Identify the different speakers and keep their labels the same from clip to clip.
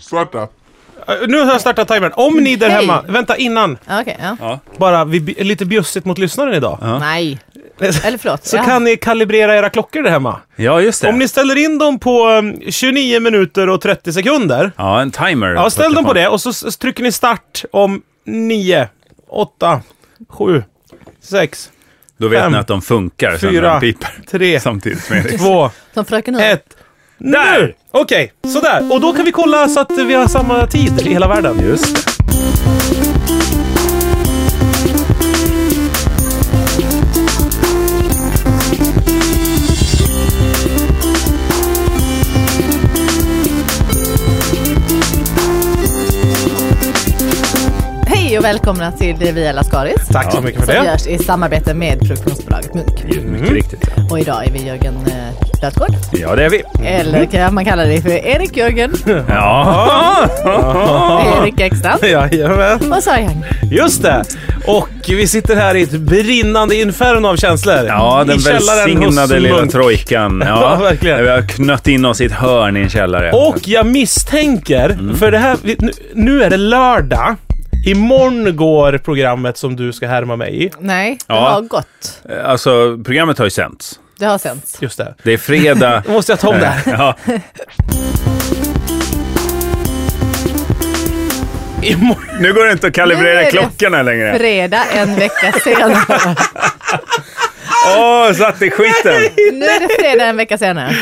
Speaker 1: Starta.
Speaker 2: Eh, Nu har jag startat timern. Om ni där
Speaker 3: Hej.
Speaker 2: hemma... Vänta, innan.
Speaker 3: Okej, ja.
Speaker 2: Bara, vi är lite bjussigt mot lyssnaren idag.
Speaker 3: Nej. Eller förlåt.
Speaker 2: Så
Speaker 3: ja.
Speaker 2: kan ni kalibrera era klockor där hemma.
Speaker 4: Ja, just det.
Speaker 2: Om ni ställer in dem på eh, 29 minuter och 30 sekunder.
Speaker 4: Ja, en timer.
Speaker 2: Ja, ställ dem på det och så s- trycker ni start om 9, 8, 7, 6,
Speaker 4: Då vet
Speaker 2: Fem,
Speaker 4: ni att de funkar sen när
Speaker 2: fyra.
Speaker 4: de piper
Speaker 2: 3,
Speaker 4: samtidigt med Erik.
Speaker 2: 2,
Speaker 3: Som fröken Hund.
Speaker 2: 1. Där! Okej, sådär. Och då kan vi kolla så att vi har samma tid i hela världen.
Speaker 4: Just.
Speaker 3: Hej och välkomna till det Via Lascaris.
Speaker 2: Tack så mycket för
Speaker 3: Som
Speaker 2: det.
Speaker 3: görs i samarbete med produktionsbolaget Munk.
Speaker 2: Mm.
Speaker 4: Mycket riktigt. ja. Mm.
Speaker 3: Och idag är vi Jörgen eh, Lötgård.
Speaker 4: Ja, det är vi.
Speaker 3: Eller kan man kalla dig för Erik Jörgen.
Speaker 4: Ja.
Speaker 3: Erik Ekstrand.
Speaker 2: Jajamän.
Speaker 3: Och så är jag.
Speaker 2: Just det! Och vi sitter här i ett brinnande inferno av känslor.
Speaker 4: Ja, den
Speaker 2: I källaren hos
Speaker 4: välsignade lilla
Speaker 2: Munk.
Speaker 4: trojkan.
Speaker 2: Ja, verkligen.
Speaker 4: Vi har knött in oss i ett hörn i en källare.
Speaker 2: Och jag misstänker,
Speaker 4: Mm.
Speaker 2: för det här, vi- nu, nu är det lördag. Imorgon går programmet som du ska härma mig i.
Speaker 3: Nej, det
Speaker 4: Ja.
Speaker 3: har gått.
Speaker 4: Alltså, programmet har ju sänts.
Speaker 3: Det har sänts.
Speaker 2: Just det.
Speaker 4: Det är fredag. Eh,
Speaker 2: Då måste jag ta om det här.
Speaker 4: Ja,
Speaker 2: Imorgon.
Speaker 4: nu går det inte att
Speaker 3: Nu är
Speaker 4: kalibrera
Speaker 3: det
Speaker 4: klockorna längre.
Speaker 3: Fredag en vecka senare.
Speaker 4: Åh, satt i skiten!
Speaker 3: Nu är det fredag en vecka senare.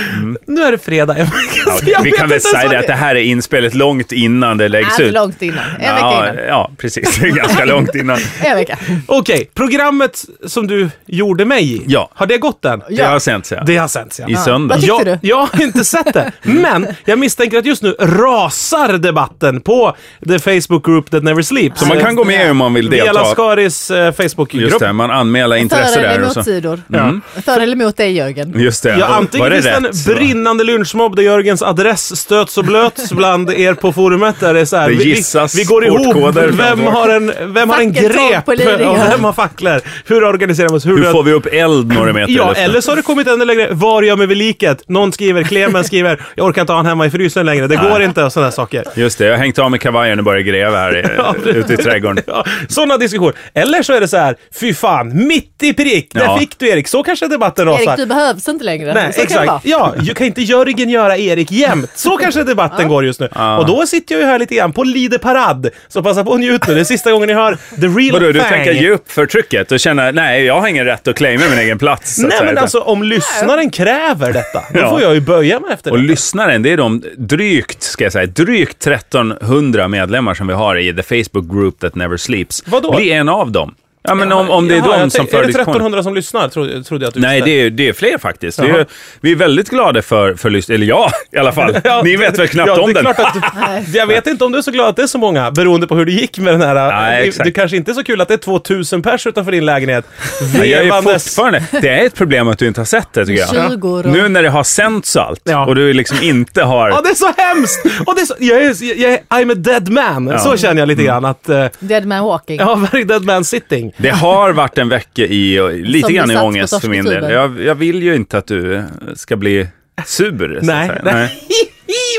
Speaker 2: Nu är det fredag. Jag kan
Speaker 4: Ja,
Speaker 2: säga-
Speaker 4: vi
Speaker 2: jag
Speaker 4: kan
Speaker 2: vet
Speaker 4: väl
Speaker 2: inte ens
Speaker 4: säga det
Speaker 2: vad Äh,
Speaker 4: att det här är inspelet långt innan det läggs
Speaker 3: Alltså
Speaker 4: ut.
Speaker 3: långt innan. En vecka
Speaker 4: ja,
Speaker 3: innan.
Speaker 4: ja, precis. Det är Ganska långt innan.
Speaker 3: En vecka.
Speaker 2: Okej, programmet som du gjorde mig i.
Speaker 4: Ja.
Speaker 2: Har det gått än?
Speaker 4: Det har sänts, ja.
Speaker 2: Det har sänts ja.
Speaker 4: I söndag.
Speaker 3: Vad tyckte
Speaker 2: jag,
Speaker 3: du?
Speaker 2: jag har inte sett det, men jag misstänker att just nu rasar debatten på the Facebook group that never sleeps.
Speaker 4: Så man kan gå med om man vill
Speaker 2: Via
Speaker 4: delta.
Speaker 2: Lascaris eh,
Speaker 4: Just
Speaker 2: Facebookgrupp.
Speaker 4: det, man anmäler
Speaker 3: För
Speaker 4: intresse
Speaker 3: eller
Speaker 4: där. Och
Speaker 3: emot
Speaker 4: så.
Speaker 3: sidor.
Speaker 2: Mm.
Speaker 3: För eller emot dig Jörgen.
Speaker 4: Just det.
Speaker 2: Ja,
Speaker 4: Var- var
Speaker 2: antingen
Speaker 4: det
Speaker 2: finns det en
Speaker 4: rätt?
Speaker 2: brinnande lynchmobb där Jörgens adress stöts och blöts bland er på forumet. Där det är så här,
Speaker 4: Det
Speaker 2: vi-
Speaker 4: gissas
Speaker 2: vi, vi går ihop.
Speaker 4: portkoder.
Speaker 2: Vem har en, vem har en
Speaker 3: Facket tar
Speaker 2: grep?
Speaker 3: på Lidingö.
Speaker 2: Och vem har facklor? Hur organiserar vi oss?
Speaker 4: Hur
Speaker 2: löser-
Speaker 4: får vi upp eld några meter i
Speaker 2: Ja,
Speaker 4: luften?
Speaker 2: eller så har det kommit ännu längre. Var gör mig vid liket? Någon skriver, Clemens skriver, jag orkar inte ha han hemma i frysen längre. Det går inte och sådana saker.
Speaker 4: Just det, jag har hängt av mig kavajen och börjat gräva här i,
Speaker 2: Ja, precis.
Speaker 4: ute i trädgården.
Speaker 2: Ja, sådana diskussioner. Eller så är det så här, fy fan, mitt i prick, där
Speaker 4: Ja.
Speaker 2: fick du Erik. Så kanske debatten rasar.
Speaker 3: Erik, du behövs inte längre.
Speaker 2: Nej,
Speaker 3: så Kan det vara.
Speaker 2: exakt. Ja, ju- kan inte Jörgen göra Erik jämt? Så kanske debatten går just nu. Och då sitter jag ju här lite grann på Lide Parad. Så passa på och njut nu. Det är sista gången ni hör the real
Speaker 4: Vadå, du
Speaker 2: thing.
Speaker 4: tänker ge upp för trycket och känna nej, jag har ingen rätt att claima min egen plats. så att
Speaker 2: Nej,
Speaker 4: säga.
Speaker 2: men alltså om lyssnaren kräver detta, då
Speaker 4: Ja.
Speaker 2: får jag ju böja mig efter
Speaker 4: Och
Speaker 2: det.
Speaker 4: lyssnaren, det är de drygt, ska jag säga, drygt 1300 medlemmar som vi har i the Facebook group that never sleeps.
Speaker 2: Vadå?
Speaker 4: Bli en av dem. Ja, men om, om det är
Speaker 2: Jaha, jag
Speaker 4: de som
Speaker 2: tänkte- Är
Speaker 4: för
Speaker 2: det
Speaker 4: diskussionen.
Speaker 2: 1300 som lyssnar, trodde, trodde jag att du
Speaker 4: Nej,
Speaker 2: visste.
Speaker 4: det är, det är fler faktiskt. Det
Speaker 2: Jaha.
Speaker 4: är, vi är väldigt glada för, för lyssnarna. Eller jag i alla fall.
Speaker 2: Ja,
Speaker 4: Ni vet väl knappt
Speaker 2: ja,
Speaker 4: om
Speaker 2: det är
Speaker 4: den?
Speaker 2: klart Att du, jag vet inte om du är så glad att det är så många, beroende på hur det gick med den här.
Speaker 4: Nej,
Speaker 2: det,
Speaker 4: exakt.
Speaker 2: det kanske inte är så kul att det är 2000 pers utanför din lägenhet.
Speaker 4: Nej, jag är
Speaker 2: Vevandes-
Speaker 4: fortfarande... Det är ett problem att du inte har sett det, tycker jag.
Speaker 3: 20 år.
Speaker 4: Nu när det har sänts och allt
Speaker 2: Ja.
Speaker 4: och du liksom inte har...
Speaker 2: Ja, det är så hemskt! Och det är så, jag är, jag är, I'm a dead man. Så känner jag lite
Speaker 4: Mm.
Speaker 2: grann att... eh,
Speaker 3: Dead man walking.
Speaker 2: Ja, very dead man sitting.
Speaker 4: Det har varit en vecka i, och lite
Speaker 3: Som
Speaker 4: grann
Speaker 3: du
Speaker 4: i
Speaker 3: satt på
Speaker 4: ångest för min del.
Speaker 3: torsketubeln.
Speaker 4: Jag, jag vill ju inte att du eh, ska bli sur. så att
Speaker 2: Nej.
Speaker 4: säga.
Speaker 2: nej.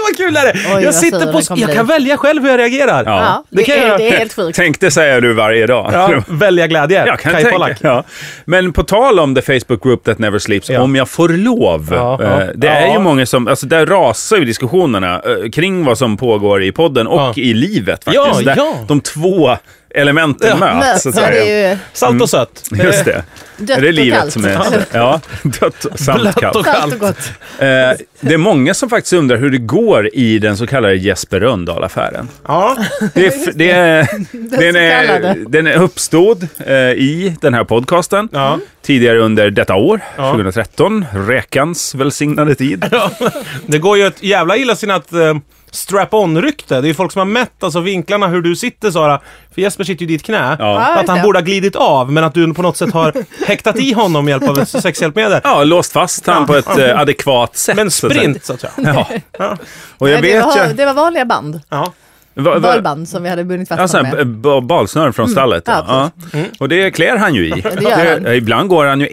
Speaker 2: vad kul är det
Speaker 3: vad
Speaker 2: Jag sitter
Speaker 3: sur
Speaker 2: på...
Speaker 3: den kommer
Speaker 2: Jag
Speaker 3: bli.
Speaker 2: kan välja själv hur jag reagerar.
Speaker 4: Ja.
Speaker 3: Ja,
Speaker 2: Det kan
Speaker 3: det,
Speaker 2: jag-
Speaker 3: är, det är helt sjukt.
Speaker 4: Tänkte säger du varje dag.
Speaker 2: Ja, välja glädje.
Speaker 4: Jag kan
Speaker 2: Kai
Speaker 4: tänka.
Speaker 2: Pollak.
Speaker 4: Ja. Men på tal om the Facebook group that never sleeps,
Speaker 2: Ja.
Speaker 4: om jag får lov.
Speaker 2: Ja,
Speaker 4: eh,
Speaker 2: ja.
Speaker 4: Det är
Speaker 2: Ja.
Speaker 4: ju många som, alltså där rasar ju diskussionerna eh, kring vad som pågår i podden och
Speaker 2: Ja.
Speaker 4: i livet faktiskt.
Speaker 2: Ja,
Speaker 4: där
Speaker 2: ja.
Speaker 4: De två elementen möts. Så
Speaker 3: Möts,
Speaker 4: att
Speaker 3: ja,
Speaker 4: säga.
Speaker 3: det är ju
Speaker 2: Salt och sött.
Speaker 4: Mm. Just det.
Speaker 3: Dött
Speaker 4: är det
Speaker 3: och
Speaker 4: livet
Speaker 3: kallt.
Speaker 4: som är... Ja, dött och samt
Speaker 2: Blött
Speaker 4: kallt.
Speaker 2: och
Speaker 3: kallt
Speaker 2: kallt.
Speaker 3: och gott.
Speaker 4: Eh, det är många som faktiskt undrar hur det går i den så kallade Jesper Rönndahl-affären.
Speaker 2: Ja.
Speaker 4: Det är, f- det är, den,
Speaker 3: så
Speaker 4: är,
Speaker 3: kallade.
Speaker 4: den är uppstod eh, i den här podcasten
Speaker 2: Ja.
Speaker 4: tidigare under detta år,
Speaker 2: Ja.
Speaker 4: 2013, räkans välsignade tid.
Speaker 2: Det går ju ett jävla illasinnat eh, strap-on-rykte. Det är ju folk som har mätt alltså, vinklarna hur du sitter Sara. För Jesper sitter ju i ditt knä.
Speaker 4: Ja.
Speaker 2: Att han borde ha glidit av, men att du på något sätt har häktat i honom med hjälp av ett sexhjälpmedel.
Speaker 4: Ja, låst fast han på ett eh, adekvat sätt.
Speaker 2: Men
Speaker 4: så att säga.
Speaker 2: sprint, så att säga.
Speaker 4: Ja. Och jag
Speaker 3: Nej, det,
Speaker 4: vet
Speaker 3: var,
Speaker 4: ju...
Speaker 3: det var vanliga band.
Speaker 2: Ja.
Speaker 4: Va- va-
Speaker 3: Bollband som vi hade bundit fast
Speaker 4: Alltså,
Speaker 3: honom med.
Speaker 4: balsnören
Speaker 2: Mm.
Speaker 4: från stallet.
Speaker 3: ja, Mm.
Speaker 4: Ja, Och det klär han ju i.
Speaker 3: gör han.
Speaker 4: Det- Ibland går han ju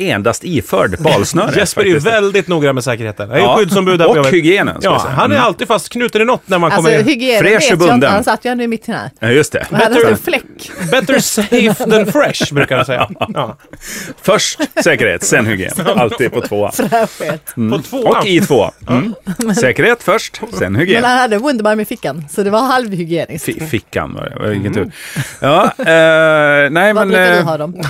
Speaker 4: endast iförd balsnöre.
Speaker 2: Jesper är ju
Speaker 4: faktiskt.
Speaker 2: väldigt noga med säkerheten. Han är
Speaker 4: Ja.
Speaker 2: ju skyddsombud där på
Speaker 4: Och
Speaker 2: jobbet.
Speaker 4: hygienen, ska
Speaker 2: Ja,
Speaker 4: jag säga. Mm.
Speaker 2: han är alltid fastknuten i något när man
Speaker 3: Alltså
Speaker 2: kommer in.
Speaker 3: hygienen vet
Speaker 4: Fräsch och
Speaker 3: jag inte,
Speaker 4: bunden.
Speaker 3: han satt ju ändå i mitt knä.
Speaker 4: Mm. Ja, just det.
Speaker 3: Han hade
Speaker 2: Better-
Speaker 3: inte en fläck.
Speaker 2: Better safe than fresh, brukar han säga. Ja.
Speaker 4: Först säkerhet, sen hygien. Alltid på tvåa.
Speaker 3: Där sket.
Speaker 2: På tvåan.
Speaker 4: Och i två. Mm. Säkerhet först, sen
Speaker 3: Men
Speaker 4: hygien.
Speaker 3: han hade Wunderbaum i fickan, så det var halvhygieniskt.
Speaker 4: Fi- Fickan var det, vilken tur. Ja, eh, nej
Speaker 3: Mm. Vad
Speaker 4: men...
Speaker 3: brukar du
Speaker 4: eh,
Speaker 3: ha dem?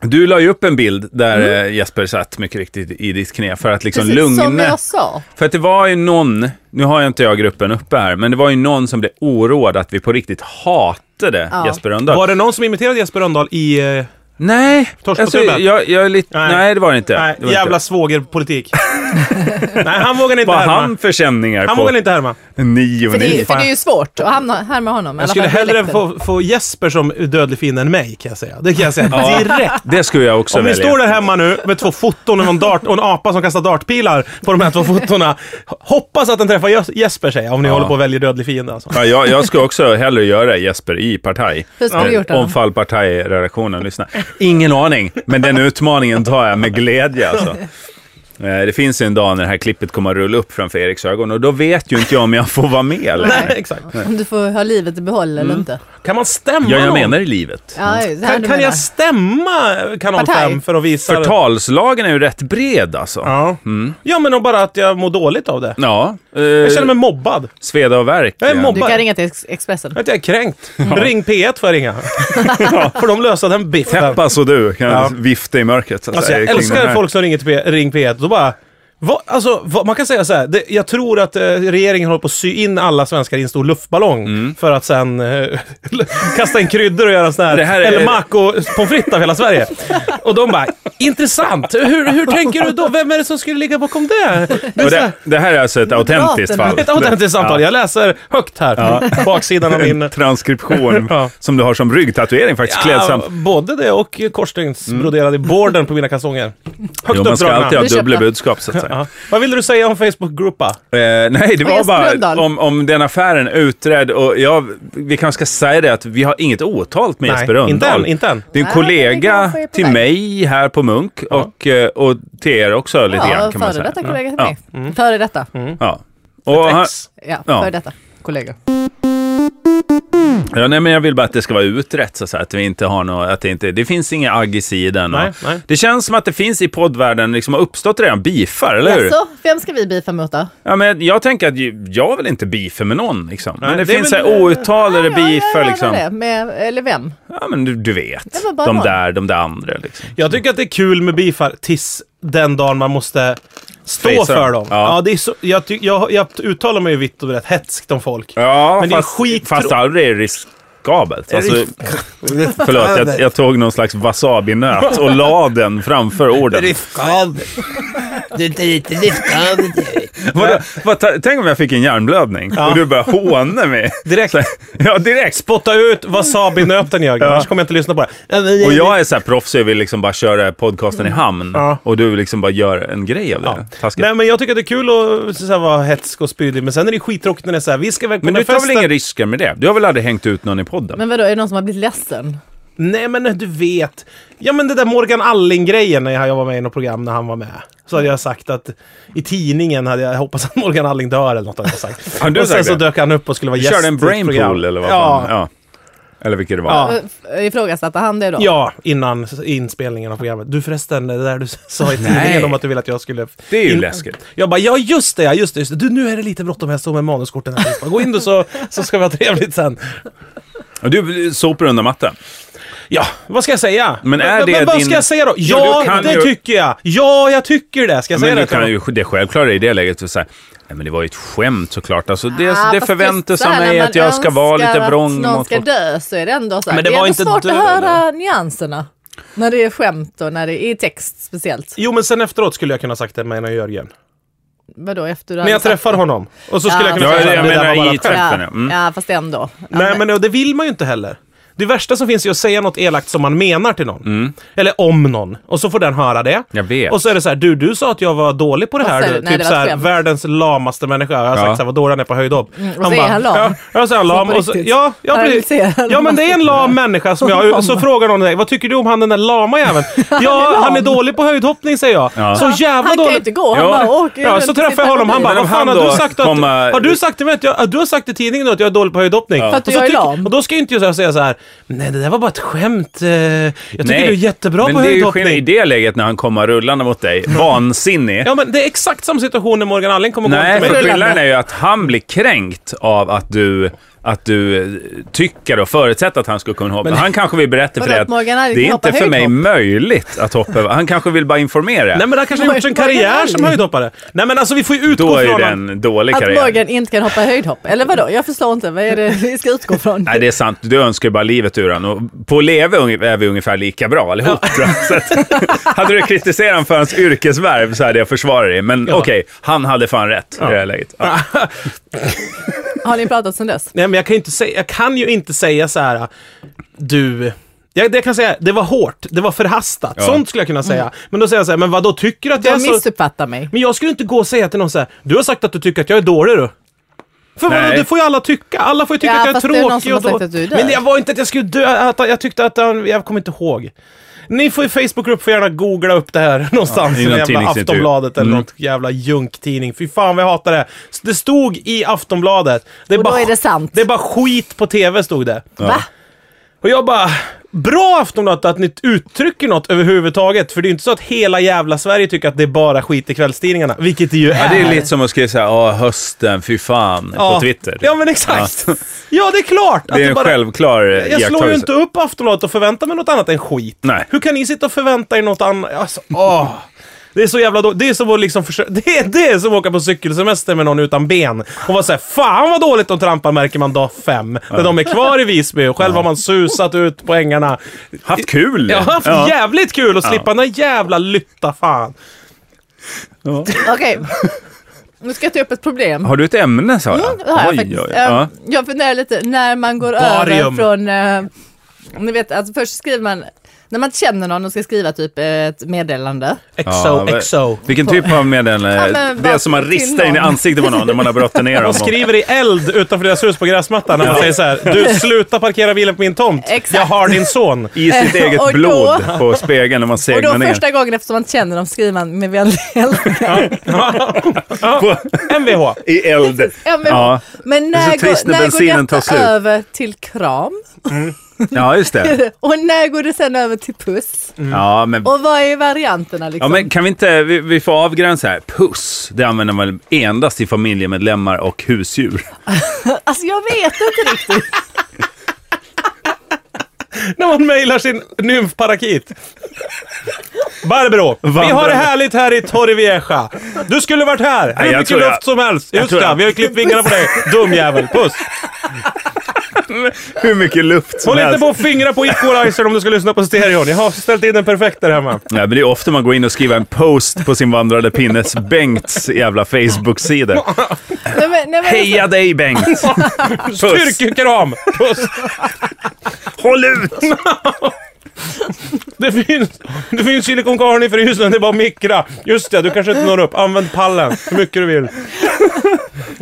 Speaker 4: Du la ju upp en bild där eh, Jesper satt mycket riktigt i ditt knä för att liksom
Speaker 3: Precis som
Speaker 4: lugna.
Speaker 3: jag sa.
Speaker 4: För att det var ju någon, nu har jag inte jag gruppen uppe här, men det var ju någon som blev oroad att vi på riktigt hatade
Speaker 3: Ja.
Speaker 4: Jesper Rönndahl.
Speaker 2: Var det någon som imiterade Jesper Rönndahl i... eh,
Speaker 4: Nej, alltså,
Speaker 2: klubben?
Speaker 4: jag, jag är lite... Nej.
Speaker 2: Nej.
Speaker 4: det var det inte.
Speaker 2: Nej,
Speaker 4: det var
Speaker 2: jävla
Speaker 4: inte.
Speaker 2: svågerpolitik. Nej, han vågar inte
Speaker 4: Vad har
Speaker 2: härma.
Speaker 4: han
Speaker 2: Han,
Speaker 4: för känningar på
Speaker 2: vågar inte härma.
Speaker 4: 9 och
Speaker 3: För det,
Speaker 4: 9?
Speaker 3: för det är ju svårt att hamna här med honom. i alla
Speaker 2: Jag skulle
Speaker 3: fall
Speaker 2: hellre
Speaker 3: dialekten.
Speaker 2: få, få Jesper som dödlig fiende än mig, kan jag säga. Det kan jag säga direkt.
Speaker 4: Det skulle jag också
Speaker 2: Om ni
Speaker 4: välja.
Speaker 2: står där hemma nu med två foton och, någon dart, och en apa som kastar dartpilar på de här två fotona. Hoppas att den träffar Jes- Jesper, säger jag, om ni håller på och väljer dödlig fiende. Alltså.
Speaker 4: Ja, jag, jag skulle också hellre göra Jesper i Partaj.
Speaker 3: Hur skulle du gjort
Speaker 4: Eh,
Speaker 3: honom?
Speaker 4: Om Fall Partaj-redaktionen lyssnar. Ingen aning, men den utmaningen tar jag med glädje alltså. Eh, Det finns en dag när det här klippet kommer att rulla upp framför Eriks ögon och då vet ju inte jag om jag får vara med eller
Speaker 2: Nej, exakt.
Speaker 3: Om du får ha livet i behåll eller inte.
Speaker 2: Kan man stämma
Speaker 4: Ja, jag
Speaker 2: någon?
Speaker 4: menar i livet.
Speaker 3: Ja, det är det här
Speaker 2: Kan,
Speaker 3: du
Speaker 2: kan
Speaker 3: menar.
Speaker 2: jag stämma eh, Kanal
Speaker 3: Partaj.
Speaker 2: 5 för att visa...
Speaker 4: Förtalslagen är ju rätt bred alltså.
Speaker 2: Ja. ja, men och bara att jag mår dåligt av det.
Speaker 4: Ja, eh,
Speaker 2: Jag känner mig mobbad.
Speaker 4: sveda och eh. värk.
Speaker 2: Jag är
Speaker 4: ja.
Speaker 2: mobbad.
Speaker 3: Du kan ringa till Ex- Expressen.
Speaker 2: Att jag är kränkt. Ring P1 får jag ringa. Får de lösa den biffen.
Speaker 4: Täppas och du kan
Speaker 2: Ja.
Speaker 4: vifta i mörkret. så att
Speaker 2: Alltså
Speaker 4: säga,
Speaker 2: jag
Speaker 4: kring den
Speaker 2: älskar
Speaker 4: här.
Speaker 2: folk som ringer till P- Ring P1 och då bara... Va, alltså, va, man kan säga så här, det, jag tror att eh, regeringen håller på att sy in alla svenskar i en stor luftballong
Speaker 4: Mm.
Speaker 2: för att sen eh, kasta in kryddor och göra en sån här,
Speaker 4: Det här är-
Speaker 2: eller pommes frites av hela Sverige. Och de bara, intressant, hur, hur tänker du då? Vem är det som skulle ligga bakom det? det, är
Speaker 4: Och
Speaker 2: så
Speaker 4: det,
Speaker 2: här,
Speaker 4: det här är alltså ett autentiskt fall.
Speaker 2: ett autentiskt samtal,
Speaker 4: Ja.
Speaker 2: jag läser högt här, baksidan av min...
Speaker 4: en transkription
Speaker 2: Ja.
Speaker 4: som du har som ryggtatuering faktiskt, klädsamt.
Speaker 2: både det och korsstygnsbroderade borden på mina kalsonger. Högt
Speaker 4: Mm. Jo, man ska
Speaker 2: uppdragna.
Speaker 4: alltid ha
Speaker 3: Vi köpte.
Speaker 4: dubbla budskap så att säga.
Speaker 2: Ja. Vad ville du säga om Facebook-gruppa?
Speaker 4: Eh, nej, det
Speaker 3: Och
Speaker 4: var
Speaker 3: Jesper Lundahl.
Speaker 4: bara om, om den affären utredd och jag, vi kanske ska säga det att vi har inget åtalt med
Speaker 2: Nej,
Speaker 4: Jesper
Speaker 2: inte
Speaker 4: Rönndahl.
Speaker 2: än, inte än.
Speaker 4: Det är en
Speaker 3: Nej, men det
Speaker 4: kollega
Speaker 3: kanske är på
Speaker 4: till
Speaker 3: väg.
Speaker 4: mig här på Munk och, eh, och till er också lite grann
Speaker 3: Ja,
Speaker 4: kan man
Speaker 3: före
Speaker 4: säga.
Speaker 3: detta kollega till mig. Före detta.
Speaker 4: Ja. Och han,
Speaker 3: Ja,
Speaker 4: Ja.
Speaker 3: före detta kollega.
Speaker 4: ja, nej, men jag vill bara att det ska vara utrett så att säga, att vi inte har något, att det inte, det finns inga agg i sidan.
Speaker 2: Nej,
Speaker 4: och,
Speaker 2: nej.
Speaker 4: Det känns som att det finns i poddvärlden, liksom har uppstått redan beefar, eller hur?
Speaker 3: Jaså, vem ska vi beefa mot då?
Speaker 4: Ja, men jag tänker att ju- jag vill inte beefa med någon. Liksom. Men
Speaker 2: Nej,
Speaker 4: det,
Speaker 2: det är
Speaker 4: finns så
Speaker 2: väl-
Speaker 4: här outtalade
Speaker 3: Ja, jag
Speaker 4: beefer.
Speaker 3: gör
Speaker 4: Liksom.
Speaker 3: det. Med, eller vem?
Speaker 4: Ja, men du, du vet.
Speaker 3: var bara
Speaker 4: De
Speaker 3: någon.
Speaker 4: där, de där andra. Liksom.
Speaker 2: Jag tycker att det är kul med bifar tills den dagen man måste stå
Speaker 4: Fejsa
Speaker 2: för
Speaker 4: dem.
Speaker 2: dem.
Speaker 4: Ja.
Speaker 2: Ja. det är så, jag, ty- jag, jag uttalar mig ju vitt och brett hätskt om folk.
Speaker 4: Ja,
Speaker 2: Men det är
Speaker 4: fast,
Speaker 2: skittro-
Speaker 4: fast aldrig är det riskabelt. Alltså,
Speaker 2: risk-
Speaker 4: förlåt, jag, jag tog någon slags wasabinöt och la den framför orden.
Speaker 1: Riskabel. Du är inte lite riskabel.
Speaker 4: Vadå? Vad, ta- tänk om jag fick en hjärnblödning och du började håna mig.
Speaker 2: Direkt.
Speaker 4: Så här, Ja, direkt.
Speaker 2: Spotta ut wasabinöten Jörgen, annars kommer jag inte lyssna på det.
Speaker 4: Och jag är så här proffsig och vill liksom bara köra podcasten i hamn.
Speaker 2: Ja.
Speaker 4: Och du liksom bara gör en grej av det.
Speaker 2: Ja.
Speaker 4: Taskigt.
Speaker 2: Nej men jag tycker att det är kul att så här, vara hätsk och spydig, men sen är det skittråkigt när det är så här, vi ska väl på
Speaker 4: Men
Speaker 2: den
Speaker 4: du
Speaker 2: här
Speaker 4: tar väl
Speaker 2: festen.
Speaker 4: inga risker med det? Du har väl aldrig hängt ut någon i podden?
Speaker 3: Men vadå, är det någon som har blivit ledsen?
Speaker 2: Nej men du vet. Ja men det där Morgan Alling-grejen när jag var med i något program när han var med. Så hade jag sagt att i tidningen hade jag hoppats att Morgan Alling dör eller något hade jag sagt.
Speaker 4: Har du
Speaker 2: och sen
Speaker 4: sagt
Speaker 2: så
Speaker 4: det?
Speaker 2: dök han upp och skulle vara
Speaker 4: Du
Speaker 2: gäst
Speaker 4: körde
Speaker 2: i
Speaker 4: en
Speaker 2: ett program.
Speaker 4: brainpool eller vad
Speaker 2: ja.
Speaker 4: fan? Ja. Eller vilket det var.
Speaker 2: Ja.
Speaker 3: Ö- Ifrågasatte han det då?
Speaker 2: Ja, innan inspelningen av programmet. Du förresten, det där du sa i tidningen om att du ville att jag skulle...
Speaker 4: Det är ju
Speaker 2: in-
Speaker 4: läskigt.
Speaker 2: Jag bara, ja just det, ja just det, just det. Du, nu är det lite bråttom, jag står med manuskorten här. Jag bara, Gå in du så, så ska vi ha trevligt sen.
Speaker 4: Och Du sopar under mattan.
Speaker 2: Ja, vad ska jag säga?
Speaker 4: Men är det
Speaker 2: men, vad
Speaker 4: din-
Speaker 2: ska jag säga då?
Speaker 4: Ja,
Speaker 2: Ja,
Speaker 4: du kan
Speaker 2: det
Speaker 4: ju-
Speaker 2: tycker jag! Ja, jag tycker det! Ska jag säga
Speaker 4: Men
Speaker 2: det?
Speaker 4: du
Speaker 2: till honom?
Speaker 4: kan ju, det självklara i det läget är så här, nej men det var ju ett skämt såklart. Alltså det,
Speaker 3: Ah,
Speaker 4: det
Speaker 3: fast
Speaker 4: förväntas
Speaker 3: just så
Speaker 4: av
Speaker 3: här,
Speaker 4: mig
Speaker 3: när
Speaker 4: att jag
Speaker 3: man
Speaker 4: ska vara
Speaker 3: önskar
Speaker 4: lite
Speaker 3: att
Speaker 4: vrång
Speaker 3: någon
Speaker 4: mot
Speaker 3: ska
Speaker 4: folk.
Speaker 3: dö så är det ändå så här.
Speaker 2: Men
Speaker 3: det,
Speaker 2: det
Speaker 3: är
Speaker 2: var
Speaker 3: ändå
Speaker 2: inte
Speaker 3: svårt
Speaker 2: död,
Speaker 3: att höra nyanserna. När det är skämt och när det är text speciellt.
Speaker 2: Jo, men sen efteråt skulle jag kunna ha sagt det med Jörgen.
Speaker 3: Vadå efter du
Speaker 2: När
Speaker 3: hade
Speaker 2: jag
Speaker 3: sagt-
Speaker 2: träffar honom. Och så skulle
Speaker 3: Ja,
Speaker 2: jag kunna
Speaker 3: ja,
Speaker 2: säga
Speaker 3: jag
Speaker 2: "Det där
Speaker 4: menar
Speaker 2: var bara
Speaker 4: i
Speaker 2: ett skämt."
Speaker 4: träffen,
Speaker 3: Ja,
Speaker 4: ja. Mm.
Speaker 3: ja, fast ändå. Ja,
Speaker 2: Nej, men och det vill man ju inte heller. Det värsta som finns är att säga något elakt som man menar till någon. Eller om någon. Och så får den höra det.
Speaker 4: Mm. Jag vet.
Speaker 2: Och så är det så här, du, du sa att jag var dålig på det
Speaker 3: Vad
Speaker 2: här.
Speaker 3: sa
Speaker 2: du.
Speaker 3: du? Nej,
Speaker 2: typ
Speaker 3: det var
Speaker 2: så här,
Speaker 3: ett skämt.
Speaker 2: världens lamaste människa. Jag har
Speaker 4: Ja.
Speaker 2: sagt så här, vad dålig han är på höjdhopp.
Speaker 3: Mm, och så är han lam.
Speaker 2: Ja, ja, så är han
Speaker 3: Så
Speaker 2: lam.
Speaker 3: på
Speaker 2: Och så,
Speaker 3: riktigt.
Speaker 2: ja, ja,
Speaker 3: Ja, jag
Speaker 2: precis.
Speaker 3: vill säga det.
Speaker 2: ja, men det är en lam människa som jag... Så frågar någon dig, vad tycker du om han den där lama jäveln? Ja,
Speaker 3: lam.
Speaker 2: han är dålig på höjdhoppning säger jag.
Speaker 4: Ja.
Speaker 2: Så jävla
Speaker 3: Han kan ju
Speaker 2: dålig.
Speaker 3: inte gå. Han
Speaker 4: Ja.
Speaker 3: bara åker
Speaker 2: Ja,
Speaker 3: runt
Speaker 2: så
Speaker 3: och
Speaker 2: träffar
Speaker 3: tittar
Speaker 2: jag honom.
Speaker 3: på
Speaker 2: Han bara,
Speaker 3: bilen.
Speaker 4: Men
Speaker 2: vad
Speaker 4: om
Speaker 2: fan
Speaker 4: han
Speaker 2: har du
Speaker 4: då
Speaker 2: sagt? Att,
Speaker 4: kommer-
Speaker 2: Har du sagt till mig att jag, du har sagt i tidningen då att jag är dålig på höjdhoppning?
Speaker 4: För att
Speaker 3: du
Speaker 2: Och så
Speaker 3: är
Speaker 2: tycker-
Speaker 3: lam.
Speaker 2: Och då ska ju inte jag så här säga så här, nej det där var bara ett skämt. eh, Jag tycker
Speaker 4: Nej,
Speaker 2: du är jättebra
Speaker 4: men
Speaker 2: på
Speaker 4: det är ju
Speaker 2: höjdhoppning.
Speaker 4: skillnad i det läget när han kommer rullande mot dig. Vansinnig.
Speaker 2: Ja, men det är exakt samma situation när Morgan Alling kommer gå
Speaker 4: Nej,
Speaker 2: till
Speaker 4: för
Speaker 2: mig.
Speaker 3: Rullande.
Speaker 4: skillnaden är ju att han blir kränkt av att du, att du eh, tycker och förutsätter att han skulle kunna hoppa. han kanske vill berätta för
Speaker 3: Vadå,
Speaker 4: dig
Speaker 3: att
Speaker 4: att
Speaker 3: Morgan Alling
Speaker 4: det är
Speaker 3: kan
Speaker 4: inte
Speaker 3: hoppa
Speaker 4: för mig
Speaker 3: höjdhopp?
Speaker 4: möjligt att hoppa över. Han kanske vill bara informera.
Speaker 2: Nej, men han kanske har gjort en
Speaker 3: Morgan
Speaker 2: karriär som
Speaker 3: Alling.
Speaker 2: höjdhoppare. Nej, men alltså vi får ju utgå
Speaker 4: Då är ju
Speaker 2: från att-
Speaker 4: den dålig
Speaker 3: Att
Speaker 4: karriär.
Speaker 3: Morgan inte kan hoppa höjdhopp. Eller vadå? Jag förstår inte. Vad är det vi ska utgå från?
Speaker 4: Nej, det är sant. Du önskar ju bara livet ur honom. Och På Leve unge- är vi ungefär lika bra allihop. Så att, hade du kritiserat honom för hans yrkesvärv så hade jag försvarat dig. Men okej, han hade fan rätt i det här läget. Ja.
Speaker 3: Har ni pratat sedan dess?
Speaker 2: Nej, men jag kan ju inte säga, jag kan ju inte säga så här, du... Jag, det jag kan säga, det var hårt, det var förhastat.
Speaker 4: Ja.
Speaker 2: Sånt skulle jag kunna säga. Men då säger jag så här, men vad då tycker du att
Speaker 3: Du
Speaker 2: jag
Speaker 3: har
Speaker 2: är så...
Speaker 3: missuppfattat mig.
Speaker 2: Men jag skulle inte gå och säga till någon så här, du har sagt att du tycker att jag är dålig du. För vadå,
Speaker 4: Nej.
Speaker 2: det får ju alla tycka. Alla får ju tycka
Speaker 3: Ja,
Speaker 2: att jag är
Speaker 3: fast det är någon
Speaker 2: tråkig
Speaker 3: som
Speaker 2: och
Speaker 3: har sagt
Speaker 2: dålig.
Speaker 3: att du är död.
Speaker 2: Men jag var inte att jag skulle dö, att jag tyckte att han, jag kommer inte ihåg. Ni får i Facebookgrupp får gärna googla upp det här någonstans
Speaker 4: i
Speaker 2: i
Speaker 4: någon
Speaker 2: någon jävla
Speaker 4: tidningsintervju.
Speaker 2: Aftonbladet eller
Speaker 4: Mm.
Speaker 2: något jävla junktidning. Fy fan vad jag hatar det. Så Det stod i Aftonbladet. Det är
Speaker 3: Och då är det sant.
Speaker 2: Det är bara skit på TV stod det.
Speaker 3: Va?
Speaker 2: Och jag bara, bra Aftonbladet att ni uttrycker något överhuvudtaget. För det är ju inte så att hela jävla Sverige tycker att det är bara skit i kvällstidningarna. Vilket det ju
Speaker 4: Ja,
Speaker 2: är.
Speaker 4: det är lite som att skriva såhär, ja hösten, fy fan, på Twitter.
Speaker 2: Ja, men exakt. Ja, det är klart. att
Speaker 4: det är en självklar eh,
Speaker 2: jag slår ju
Speaker 4: iakttagelse.
Speaker 2: inte upp Aftonbladet och förväntar mig något annat än skit.
Speaker 4: Nej.
Speaker 2: Hur kan ni sitta och förvänta er något annat? Alltså, åh. Det är så jävla dåligt. Det är som att liksom försöka... Det är, det är som att åka på cykelsemester med någon utan ben. Och vara såhär, fan vad dåligt de trampar märker man dag fem. När de är kvar i Visby och själv har man susat ut på ängarna.
Speaker 4: Haft kul!
Speaker 2: Jag har haft
Speaker 4: Ja.
Speaker 2: jävligt kul att slippa den där jävla lytta fan.
Speaker 3: Okej. Nu ska jag ta upp ett problem.
Speaker 4: Har du ett ämne Sara?
Speaker 3: Mm, det har jag
Speaker 4: Oj,
Speaker 3: faktiskt.
Speaker 4: oj, oj.
Speaker 3: Eh,
Speaker 4: Ja.
Speaker 3: Jag funderar lite när man går över
Speaker 2: Barium.
Speaker 3: från, eh, ni vet, alltså först skriver man, när man inte känner någon och ska skriva typ eh, ett meddelande.
Speaker 4: Ja,
Speaker 2: XO,
Speaker 4: men-
Speaker 2: XO.
Speaker 4: Vilken typ av
Speaker 3: Ja,
Speaker 4: meddelande?
Speaker 3: men
Speaker 4: Det är
Speaker 3: vad-
Speaker 4: som man
Speaker 3: till
Speaker 4: ristar in i
Speaker 3: någon.
Speaker 4: ansiktet på någon när man har brottat ner
Speaker 2: De
Speaker 4: honom.
Speaker 2: skriver i eld utanför deras hus på gräsmattan när man säger så här. Du, sluta parkera bilen på min tomt.
Speaker 3: Exakt.
Speaker 2: Jag har din son.
Speaker 4: I sitt
Speaker 3: Eh,
Speaker 4: eget
Speaker 3: och då-
Speaker 4: blod på spegeln när man
Speaker 3: Och då
Speaker 4: segnar ner.
Speaker 3: första gången eftersom man inte känner dem skriver man med vänlig
Speaker 2: Ja. Mvh.
Speaker 4: I eld. Ja.
Speaker 3: ja. Men
Speaker 4: Det är så
Speaker 3: när,
Speaker 4: trist
Speaker 3: går,
Speaker 4: när
Speaker 3: när går
Speaker 4: bensinen tar
Speaker 3: detta
Speaker 4: slut.
Speaker 3: över till kram?
Speaker 4: ja, just det.
Speaker 3: Och när går det sen över till puss?
Speaker 4: Ja, men,
Speaker 3: Mm. Och vad är varianterna liksom?
Speaker 4: ja, men kan vi inte, vi, vi får avgränsa här. Puss, det använder man endast till familjemedlemmar och husdjur.
Speaker 3: Alltså jag vet inte riktigt.
Speaker 2: När man mejlar sin nymfparakit. Barbro, vi har det härligt här i Torrevieja. Du skulle varit här. Hur
Speaker 4: jag
Speaker 2: mycket
Speaker 4: tror
Speaker 2: luft
Speaker 4: jag-
Speaker 2: som helst. Just
Speaker 4: tror
Speaker 2: det,
Speaker 4: jag-
Speaker 2: vi har ju klippt vingarna på dig. Dum jävel. Puss.
Speaker 4: Hur mycket luft som
Speaker 2: Håll inte
Speaker 4: helst.
Speaker 2: på och fingra på equalizern om du ska lyssna på stereon. Jag har ställt in den perfekt där hemma.
Speaker 4: Ja, men det är ofta man går in och skriver en post på sin vandrade pinnes Bengts jävla Facebook-sida.
Speaker 3: Nej, men, nej, men,
Speaker 4: Heja dig Bengt! Puss!
Speaker 2: Styrkekram! Puss!
Speaker 4: Håll ut!
Speaker 2: Det finns, det finns silikon carne i frysen, det är bara att mikra. Just det, du kanske inte når upp. Använd pallen hur mycket du vill.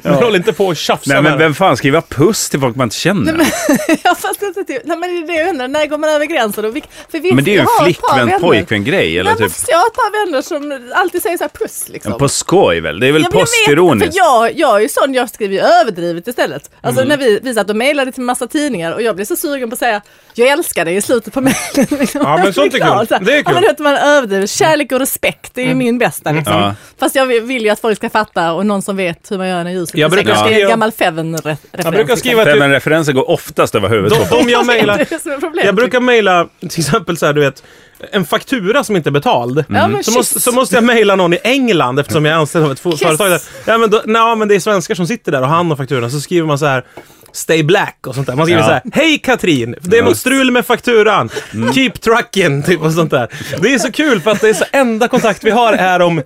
Speaker 2: Men håll inte på och tjafsa
Speaker 4: Nej
Speaker 2: med
Speaker 4: men
Speaker 2: den.
Speaker 4: vem fan skriver puss till folk man inte känner?
Speaker 3: Jag fattar inte. Till, nej men det är det jag undrar, när går man över gränsen? Och vilk, för vi,
Speaker 4: men det är ju
Speaker 3: jag
Speaker 4: en
Speaker 3: har ett par
Speaker 4: flickvän
Speaker 3: vänner.
Speaker 4: pojkvän-grej eller
Speaker 3: Nej, men
Speaker 4: typ.
Speaker 3: förstår jag har ett par vänner som alltid säger så här puss liksom.
Speaker 4: På skoj väl? Det är väl
Speaker 3: Ja, men jag vet inte,
Speaker 4: postironiskt?
Speaker 3: För jag, jag är ju sån, jag skriver ju överdrivet istället. Alltså
Speaker 4: Mm.
Speaker 3: när vi, vi satt och mejlade till massa tidningar och jag blev så sugen på att säga jag älskar dig i slutet på mejlen. liksom.
Speaker 2: Ja, men sånt är
Speaker 3: Klart,
Speaker 2: kul.
Speaker 3: så här.
Speaker 2: Det är
Speaker 3: Ja,
Speaker 2: kul. Mm.
Speaker 3: men du vet, man överdriver. Kärlek och respekt, det är ju min bästa liksom.
Speaker 4: Mm. Ja.
Speaker 3: Fast jag vill vill ju att folk ska fatta och någon som vet hur man gör när ljuset
Speaker 2: Jag
Speaker 3: är
Speaker 2: brukar
Speaker 3: säkert. Det är
Speaker 2: skriva-
Speaker 3: en gammal Feven-referens.
Speaker 2: Jag brukar skriva till...
Speaker 4: Men referenser går oftast över huvudet.
Speaker 2: De, de jag mejlar...
Speaker 3: liksom. Det är som är problemet.
Speaker 2: Jag brukar mejla till exempel så här, du vet, en faktura som inte är betald.
Speaker 4: Mm.
Speaker 3: Ja, men
Speaker 2: Mm. Så
Speaker 3: shit.
Speaker 2: måste, så måste jag mejla någon i England eftersom jag är anställd av ett fo- företag där. Ja, men, då, nej, men det är svenskar som sitter där och handlar fakturan. Så skriver man så här Stay black och sånt där. Man skriver
Speaker 4: Ja.
Speaker 2: så här Hej Katrin! Det är något strul med fakturan.
Speaker 4: Mm.
Speaker 2: Keep trucking! Typ och sånt där. Det är så kul för att det är så enda kontakt vi har är om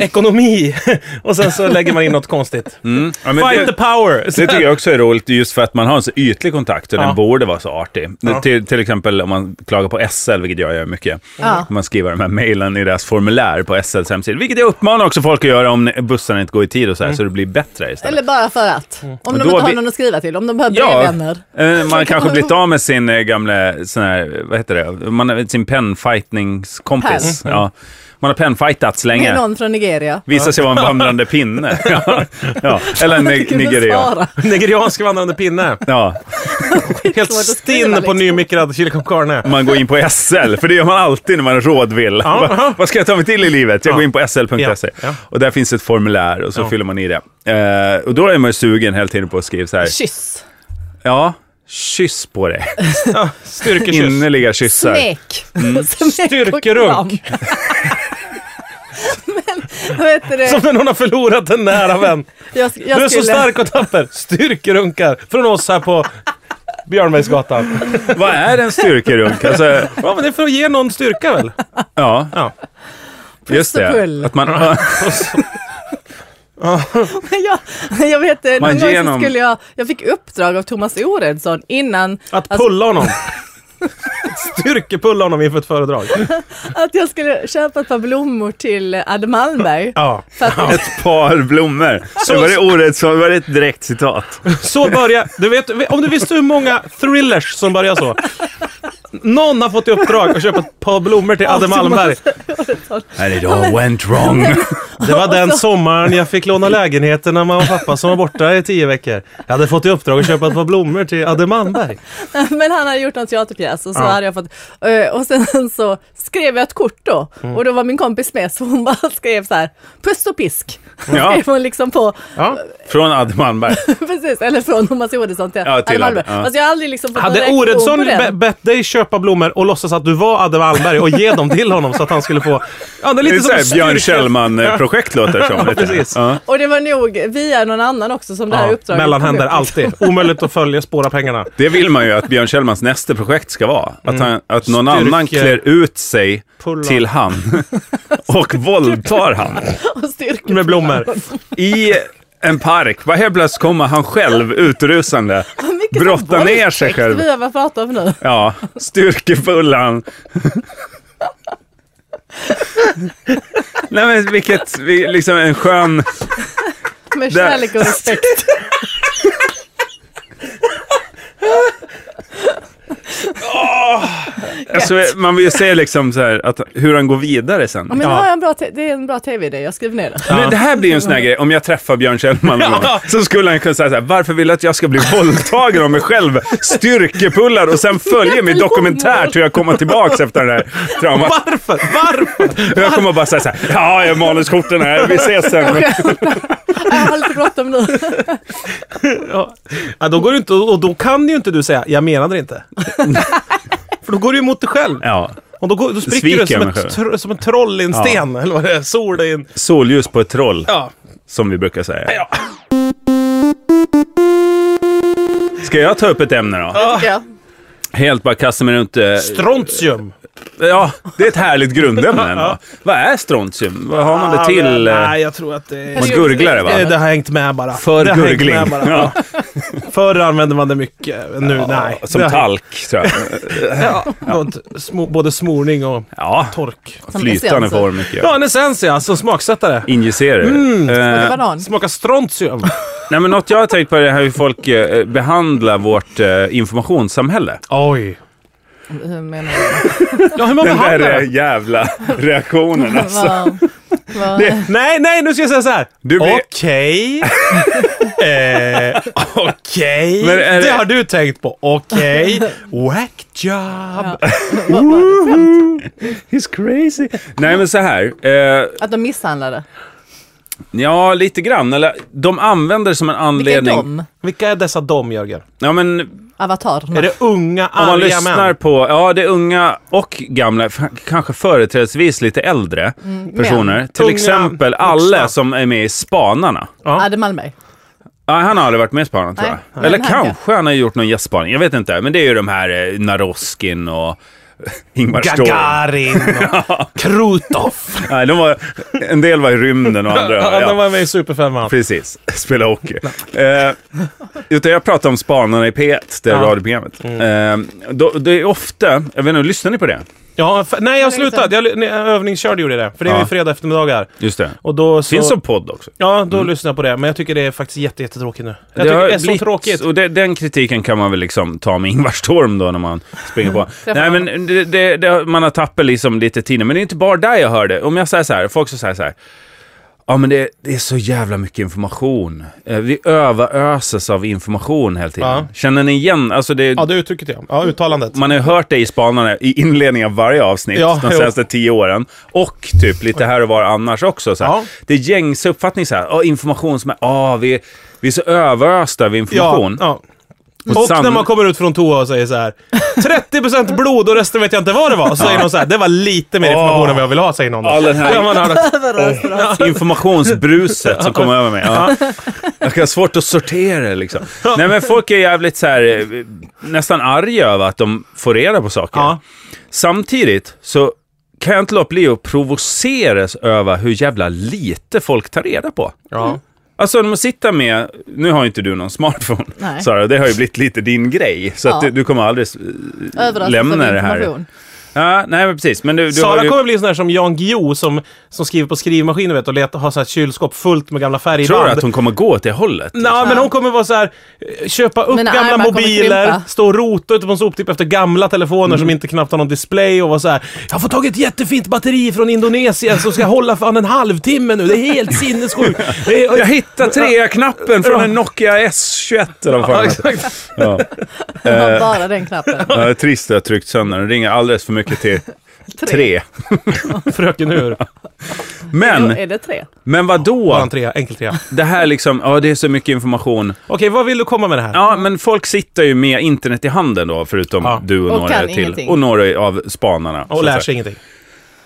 Speaker 2: ekonomi och sen så lägger man in något konstigt.
Speaker 4: Ja, Mm. men
Speaker 2: Fight
Speaker 4: det-
Speaker 2: the power!
Speaker 4: Det tycker jag också är roligt, just för att man har en så ytlig kontakt och
Speaker 2: Ja.
Speaker 4: den borde vara så artig.
Speaker 2: Ja.
Speaker 4: Till, till exempel om man klagar på SL, vilket jag gör mycket.
Speaker 3: Ja.
Speaker 4: Om man skriver de här mejlen i deras formulär på SLs hemsida, vilket jag uppmanar också folk att göra om bussarna inte går i tid och
Speaker 2: Mm.
Speaker 4: så här, så det blir bättre istället.
Speaker 3: Eller bara för att. Om
Speaker 4: Och
Speaker 3: de
Speaker 4: då
Speaker 3: inte har
Speaker 4: vi-
Speaker 3: någon att skriva till, om de behöver brevvänner.
Speaker 4: eh, man har kanske blivit av med sin eh, gamla, sån här, vad heter det, man har, sin pennfightningskompis. Ja. Man har pennfightats
Speaker 3: Det är
Speaker 4: länge.
Speaker 3: någon från Nigeria.
Speaker 4: Visar sig vara en vandrande pinne. ja. Ja. Eller en
Speaker 3: Kunde
Speaker 4: Nigeria.
Speaker 3: svara.
Speaker 2: Nigeriansk vandrande pinne.
Speaker 4: Ja.
Speaker 2: Helt
Speaker 3: Svårt att skriva,
Speaker 2: stinn på
Speaker 3: liksom.
Speaker 2: nymickrad chili con carne.
Speaker 4: man går in på SL, för det gör man alltid när man rådvill.
Speaker 2: Ja,
Speaker 4: vad,
Speaker 2: ja.
Speaker 4: vad ska jag ta mig till i livet? Jag
Speaker 2: Ja.
Speaker 4: går in på sl.se.
Speaker 2: Ja, ja.
Speaker 4: E. Och där finns ett formulär och så
Speaker 2: Ja.
Speaker 4: fyller man i det. Eh, och då är man ju sugen hela tiden på att skriva så här.
Speaker 3: Kyss.
Speaker 4: Ja, kyss på dig.
Speaker 2: Ja, Styrkekyss.
Speaker 4: Innerliga kyssar.
Speaker 3: Smek.
Speaker 2: Mm.
Speaker 3: Smek och kram.
Speaker 2: Styrkerunk.
Speaker 3: Vad heter det?
Speaker 2: Som när någon har förlorat en nära vän.
Speaker 3: Jag, sk- jag
Speaker 2: Du är så
Speaker 3: skulle-
Speaker 2: stark och tapper. Styrkerunkar från oss här på Björnbergsgatan.
Speaker 4: Vad är en styrkerunk? Alltså,
Speaker 2: Ja, men det är för att ge någon styrka väl?
Speaker 4: ja,
Speaker 2: Ja.
Speaker 4: just
Speaker 3: och pull.
Speaker 4: det. Att man,
Speaker 3: jag, jag vet det,
Speaker 4: Man
Speaker 3: någon gång
Speaker 4: genom-
Speaker 3: så skulle jag, jag fick uppdrag av Thomas Oredsson innan
Speaker 2: Att pulla honom. Styrkepulla honom inför ett föredrag.
Speaker 3: att jag skulle köpa ett par blommor till Adde Malmberg.
Speaker 2: Ja.
Speaker 3: För att,
Speaker 4: ett par blommor.
Speaker 2: Så-
Speaker 4: Så var det ordet som var det ett direkt citat.
Speaker 2: Så börjar... Du vet, om du visste hur många thrillers som börjar så. Någon har fått i uppdrag att köpa ett par blommor till Adde Malmberg.
Speaker 4: And it all went wrong.
Speaker 2: Det var den
Speaker 3: Alltså-
Speaker 2: sommaren jag fick låna lägenheten när mamma och pappa som var borta i tio veckor. Jag hade fått i uppdrag att köpa ett par blommor till Adde Malmberg.
Speaker 3: men han hade gjort någon teaterpjäs och så
Speaker 2: Ja.
Speaker 3: hade jag fått, eh, och sen så skrev jag ett kort då
Speaker 4: Mm.
Speaker 3: och då var min kompis med så hon bara skrev så här, puss och pisk.
Speaker 4: Ja.
Speaker 3: Skrev hon liksom på,
Speaker 2: Ja.
Speaker 4: Från Adde Malmberg.
Speaker 3: precis, eller från Thomas Oredsson till
Speaker 4: Ja, till
Speaker 3: Adde Malmberg.
Speaker 4: Adde, ja.
Speaker 3: Fast jag har aldrig liksom fått någon
Speaker 2: Hade
Speaker 3: reaktion
Speaker 2: Oredsson
Speaker 3: på den.
Speaker 2: be- bett dig köpa blommor och låtsas att du var Adde Malmberg och ge dem till honom så att han skulle få... Ja, det är
Speaker 4: Det är
Speaker 2: lite
Speaker 4: så
Speaker 2: som
Speaker 4: här Björn
Speaker 2: styrke-
Speaker 4: Kjellman-projekt låter det som.
Speaker 2: Ja,
Speaker 4: lite.
Speaker 2: precis.
Speaker 4: Ja.
Speaker 3: Och det var nog via någon annan också som det här
Speaker 2: Ja,
Speaker 3: uppdraget
Speaker 2: mellanhänder
Speaker 3: kom upp.
Speaker 2: alltid. Omöjligt att följa, spåra pengarna.
Speaker 4: Det vill man ju att Björn Kjellmans nästa projekt ska vara. Att, han, att någon
Speaker 2: Styrke.
Speaker 4: annan klär ut sig
Speaker 2: Pulla.
Speaker 4: till han och våldtar han
Speaker 3: Och styrka.
Speaker 2: Med blommor.
Speaker 4: i en park. Bara helt plötsligt kommer han själv utrusande, brottar ner sig själv.
Speaker 3: Vi har bara pratat om nu.
Speaker 4: Ja, styrkefullan. Nej men vilket, vi- liksom en skön...
Speaker 3: Med
Speaker 4: Där.
Speaker 3: kärlek och respekt.
Speaker 4: Alltså, man vill ju se liksom så här, att, hur han går vidare sen.
Speaker 3: Men nu har jag en bra te- det är en bra tv-idé, jag skriver ner det.
Speaker 4: Men det här blir ju en sån här grej, om jag träffar Björn Kjellman någon gång, så skulle han kunna säga så här, varför vill du att jag ska bli våldtagen av mig själv, styrkepullar och sen följer min dokumentär till jag kommer tillbaks efter det här traumat.
Speaker 2: Varför? Varför?
Speaker 4: Och jag kommer bara säga så här, ja, jag har manuskorten här, vi ses sen.
Speaker 3: Jag har lite bråttom nu.
Speaker 2: Ja. Ja, då går det inte, och då kan ju inte du säga “jag menade det inte”. För då går du ju emot dig själv.
Speaker 4: Ja,
Speaker 2: Och då, går, då spricker du
Speaker 4: Sviker
Speaker 2: som
Speaker 4: jag
Speaker 2: ett,
Speaker 4: mig
Speaker 2: tro, som ett troll i en sten. Eller vad det är. Sol i en...
Speaker 4: solljus på ett troll,
Speaker 2: Ja.
Speaker 4: som vi brukar säga.
Speaker 2: ja.
Speaker 4: Ska jag ta upp ett ämne då?
Speaker 3: tycker jag.
Speaker 4: Helt bara kasta mig runt... eh,
Speaker 2: Strontium.
Speaker 4: Ja, det är ett härligt grundämne ändå. Vad är strontium? Vad har man det till? eh,
Speaker 2: Nej, jag tror att det
Speaker 4: Man
Speaker 2: är...
Speaker 4: gurglar det va?
Speaker 2: Det, det har hängt med bara.
Speaker 4: För
Speaker 2: det har hängt
Speaker 4: gurgling.
Speaker 2: med bara.
Speaker 4: Ja.
Speaker 2: Förr använde man det mycket, nu nej.
Speaker 4: Som
Speaker 2: Det har-
Speaker 4: talk, tror jag.
Speaker 2: Ja. Något smo- Både smorning och
Speaker 4: Ja,
Speaker 2: tork.
Speaker 3: Som
Speaker 4: flytande
Speaker 3: essens.
Speaker 4: form mycket.
Speaker 2: Ja, Mm. en essens ja, som smaksättare.
Speaker 4: Injicerar det.
Speaker 3: Det
Speaker 4: Eh,
Speaker 3: var någon.
Speaker 2: Smakar strontium.
Speaker 4: nej, men något jag har tänkt på är hur folk eh, behandlar vårt eh, informationssamhälle.
Speaker 2: Oj.
Speaker 3: Hur menar du?
Speaker 2: Ja, hur man
Speaker 4: Den där
Speaker 2: behandlar
Speaker 4: eh,
Speaker 2: det.
Speaker 4: jävla reaktionen alltså.
Speaker 3: Vad- vad-
Speaker 2: Nej, nej, nu ska jag säga så här.
Speaker 4: Du blir-
Speaker 2: Okej. eh, Okej.
Speaker 4: Men är
Speaker 2: Det...
Speaker 4: det-
Speaker 2: har du tänkt på. Okej. Whack job.
Speaker 3: vad- vad-
Speaker 4: He's crazy. Nej men så här. Eh,
Speaker 3: Att de misshandlade.
Speaker 4: ja, lite grann. Eller, de använder det som en
Speaker 3: Vilka är
Speaker 4: anledning.
Speaker 3: de?
Speaker 2: Vilka är dessa dom, Jörgen?
Speaker 4: Ja, men
Speaker 3: Avatarerna.
Speaker 2: Är det unga,
Speaker 4: Om man
Speaker 2: arga
Speaker 4: lyssnar
Speaker 2: män?
Speaker 4: på, ja det är unga och gamla, f- kanske företrädesvis lite äldre personer. Till
Speaker 2: Mm, Unga,
Speaker 4: exempel
Speaker 2: vuxna.
Speaker 4: Alle som är med i Spanarna.
Speaker 3: Adde Malmberg.
Speaker 4: Ja, han har aldrig varit med i Spanarna tror
Speaker 3: Nej.
Speaker 4: jag.
Speaker 3: Nej,
Speaker 4: Eller
Speaker 3: men han
Speaker 4: kanske han har gjort någon gästspaning, jag vet inte. Men det är ju de här eh, Naroskin och Ingmar Ståhl.
Speaker 2: Gagarin och Krutov.
Speaker 4: Nej, de var, en del var i rymden och andra...
Speaker 2: Ja,
Speaker 4: ja.
Speaker 2: de var med i Superfemman.
Speaker 4: Precis, spela hockey. Eh, utan jag pratar om Spanarna i P1, det
Speaker 2: Ja. Mm.
Speaker 4: radioprogrammet. Eh, då, det är ofta, jag vet inte, lyssnar ni på det?
Speaker 2: Ja, f- nej, jag
Speaker 3: Det är länge
Speaker 2: slutade. Jag, nej, övningskörde gjorde jag det. För det är ju
Speaker 4: Ja.
Speaker 2: fredag eftermiddagar.
Speaker 4: Just det.
Speaker 2: Och då så...
Speaker 4: Finns som podd också.
Speaker 2: Ja, då lyssnar jag på det. Men jag tycker det är faktiskt jätte, jättetråkigt nu. Jag tycker
Speaker 4: har
Speaker 2: det är så
Speaker 4: blivit-
Speaker 2: tråkigt.
Speaker 4: Och det, den kritiken kan man väl liksom ta med Ingvar Storm då när man springer
Speaker 2: Mm.
Speaker 4: på. Nej, men det, det, det, man har tappat liksom lite tid. Men det är inte bara där jag hör det. Om jag säger så här, folk som säger så här. Ja, men det, det är så jävla mycket information. Eh, Vi överöses av information hela tiden.
Speaker 2: Ja.
Speaker 4: Känner ni igen? Alltså det,
Speaker 2: Ja, det uttrycket ja. Ja, uttalandet.
Speaker 4: Man har ju hört det i spanarna i inledningen av varje avsnitt
Speaker 2: Ja,
Speaker 4: de
Speaker 2: jo.
Speaker 4: senaste tio åren. Och typ lite här och var annars också. Så här.
Speaker 2: Ja.
Speaker 4: Det är gängse uppfattning så här. "Ja, information som är... Ja, vi, vi är så överösta av information.
Speaker 2: Ja, ja. Och
Speaker 4: sann-
Speaker 2: när man kommer ut från toa och säger så här 30% blod och resten vet jag inte vad det var. Så säger någon så här, det var lite mer information än vad jag ville ha, säger någon.
Speaker 4: Ja, den här-
Speaker 2: Ja, man hör det.
Speaker 4: Informationsbruset som kom över mig. Ja. Jag kan ha svårt att sortera det liksom. Nej, men folk är jävligt så här, eh, nästan arga över att de får reda på saker.
Speaker 2: Ja.
Speaker 4: Samtidigt så kan jag inte låta bli att provoceras över hur jävla lite folk tar reda på.
Speaker 2: Ja.
Speaker 4: Alltså när man sitter med, nu har ju inte du någon smartphone
Speaker 3: Nej.
Speaker 4: Sara, det har ju blivit lite din grej. Så
Speaker 3: Ja.
Speaker 4: att du, du kommer aldrig eh,
Speaker 3: Överraskad
Speaker 4: lämna
Speaker 3: av
Speaker 4: det här.
Speaker 3: information.
Speaker 4: Ja, nej men precis, men du, du har
Speaker 2: Sara
Speaker 4: ju...
Speaker 2: kommer bli sån här som Jan Guillou som, som skriver på skrivmaskinen vet, och letar, har så här ett kylskåp fullt med gamla färgband.
Speaker 4: Tror du att hon kommer gå åt det hållet?
Speaker 3: Typ
Speaker 2: Nej, men hon kommer vara så här, eh, köpa upp
Speaker 3: Mina
Speaker 2: gamla
Speaker 3: armar kommer
Speaker 2: mobiler,
Speaker 3: krympa.
Speaker 2: stå och rota ute på en soptipp efter gamla
Speaker 4: Mm.
Speaker 2: telefoner som inte knappt har någon display och vara så här. Jag får tag i ett jättefint batteri från Indonesien som ska hålla fan en halvtimme nu. Det är helt sinnessjukt. Eh, Det är-
Speaker 4: Jag hittade trea-knappen från en Nokia S21 eller vad fan
Speaker 2: Ja,
Speaker 4: det heter.
Speaker 2: exakt.
Speaker 4: ja. Eh,
Speaker 3: Hon har bara den knappen.
Speaker 4: ja, det är trist att jag har tryckt sönder den. ringer alldeles för mycket till tre.
Speaker 2: Fröken Ur.
Speaker 3: Jo,
Speaker 4: Men,
Speaker 3: är det tre?
Speaker 4: men vad
Speaker 2: Bara
Speaker 4: då?
Speaker 2: trea, enkel trea. Okej,
Speaker 4: Det här liksom, ja det är så mycket information.
Speaker 2: vad vill du komma med det här?
Speaker 4: Ja, men folk sitter ju med internet i handen då, förutom
Speaker 2: Ja.
Speaker 4: du och,
Speaker 3: Och
Speaker 4: några
Speaker 3: kan
Speaker 4: till.
Speaker 3: ingenting.
Speaker 4: Och några av spanarna. så
Speaker 2: Och
Speaker 4: att
Speaker 2: lär
Speaker 4: säga.
Speaker 2: sig ingenting.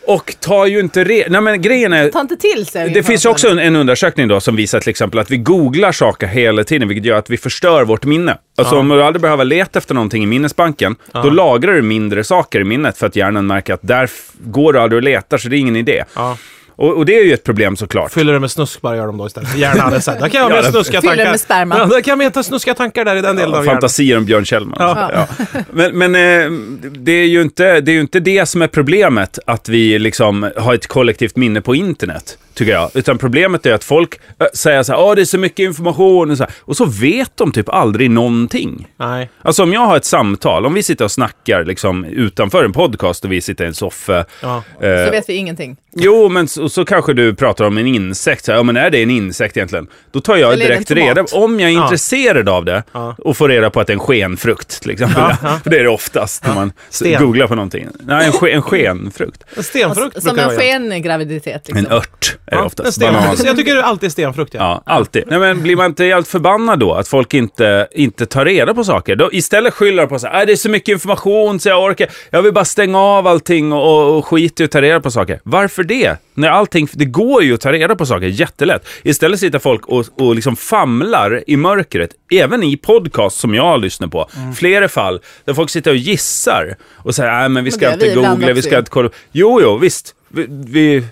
Speaker 4: Och tar ju inte re... Nej, men grejen är...
Speaker 3: Ta inte till sig
Speaker 4: Det finns ju också en, en undersökning då som visar till exempel att vi googlar saker hela tiden, vilket gör att vi förstör vårt minne. Alltså om du aldrig behöver leta efter någonting i minnesbanken, då lagrar du mindre saker i minnet för att hjärnan märker att där f- går du aldrig och letar, så det är ingen idé.
Speaker 2: Ja.
Speaker 4: Och, och det är ju ett problem såklart.
Speaker 2: Fyller det med snusk bara gör de då istället. Hjärnan är såhär, där kan jag ha
Speaker 4: Ja,
Speaker 2: mer snuska
Speaker 3: Fyller
Speaker 2: tankar.
Speaker 3: det med sperma.
Speaker 2: Ja, där kan jag ha snuska tankar där i den delen av hjärnan.
Speaker 4: Fantasier om Björn Kjellman.
Speaker 2: Ja.
Speaker 4: Ja. Men, men eh, det, är ju inte, det är ju inte det som är problemet, att vi liksom har ett kollektivt minne på internet, tycker jag. Utan problemet är att folk eh, säger så här, "Ah, det är så mycket information och så, här, och så vet de typ aldrig någonting.
Speaker 2: Nej.
Speaker 4: Alltså om jag har ett samtal, om vi sitter och snackar liksom, utanför en podcast och vi sitter i en soffa.
Speaker 2: Ja.
Speaker 4: eh,
Speaker 3: Så vet vi ingenting.
Speaker 4: Jo, men så, så kanske du pratar om en insekt. Så här, ja, men är det en insekt egentligen? Då tar jag
Speaker 3: Eller är det en
Speaker 4: direkt reda
Speaker 3: tomat?
Speaker 4: Om jag är
Speaker 2: Ja.
Speaker 4: intresserad av det och får reda på att det är en skenfrukt, till exempel. För det är det oftast när man s-
Speaker 2: Sten.
Speaker 4: googlar på någonting. Nej, en, ske, en skenfrukt.
Speaker 2: Stenfrukt
Speaker 3: Alltså, Som
Speaker 2: brukar jag
Speaker 3: en
Speaker 2: göra.
Speaker 3: skengraviditet. Liksom.
Speaker 4: En ört är det
Speaker 2: Ja, en
Speaker 4: oftast. Banan.
Speaker 2: stenfrukt. Jag tycker det alltid är stenfrukt. Ja.
Speaker 4: Ja, alltid. Nej, men blir man inte helt förbannad då? Att folk inte, inte tar reda på saker? Då istället skyller de på så här, "Äh, det är så mycket information så jag orkar. Jag vill bara stänga av allting och, och skita i att ta reda på saker. Varför det? När allting, det går ju att ta reda på saker jättelätt. Istället sitter folk och, och liksom famlar i mörkret. Även i podcast som jag lyssnar på.
Speaker 3: Mm.
Speaker 4: Flera fall där folk sitter och gissar och säger, nej men vi ska
Speaker 3: det är
Speaker 4: inte
Speaker 3: vi ibland
Speaker 4: googla, vi
Speaker 3: också
Speaker 4: ska
Speaker 3: ju."
Speaker 4: inte kolla. Jo, jo, visst. Vi, vi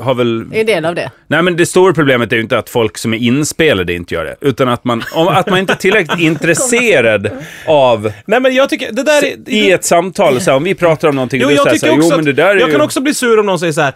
Speaker 4: har väl...
Speaker 3: Är del av det.
Speaker 4: Nej, men det stora problemet är ju inte att folk som är inspelade inte gör det, utan att man, om, att man inte är tillräckligt intresserad av
Speaker 2: Nej men jag tycker, det där är...
Speaker 4: i ett samtal, så här, om vi pratar om någonting
Speaker 2: Jo,
Speaker 4: och du
Speaker 2: jag
Speaker 4: säger
Speaker 2: tycker
Speaker 4: så här,
Speaker 2: också
Speaker 4: jo
Speaker 2: att,
Speaker 4: men E det där är
Speaker 2: Jag
Speaker 4: ju...
Speaker 2: kan också bli sur om någon säger så här.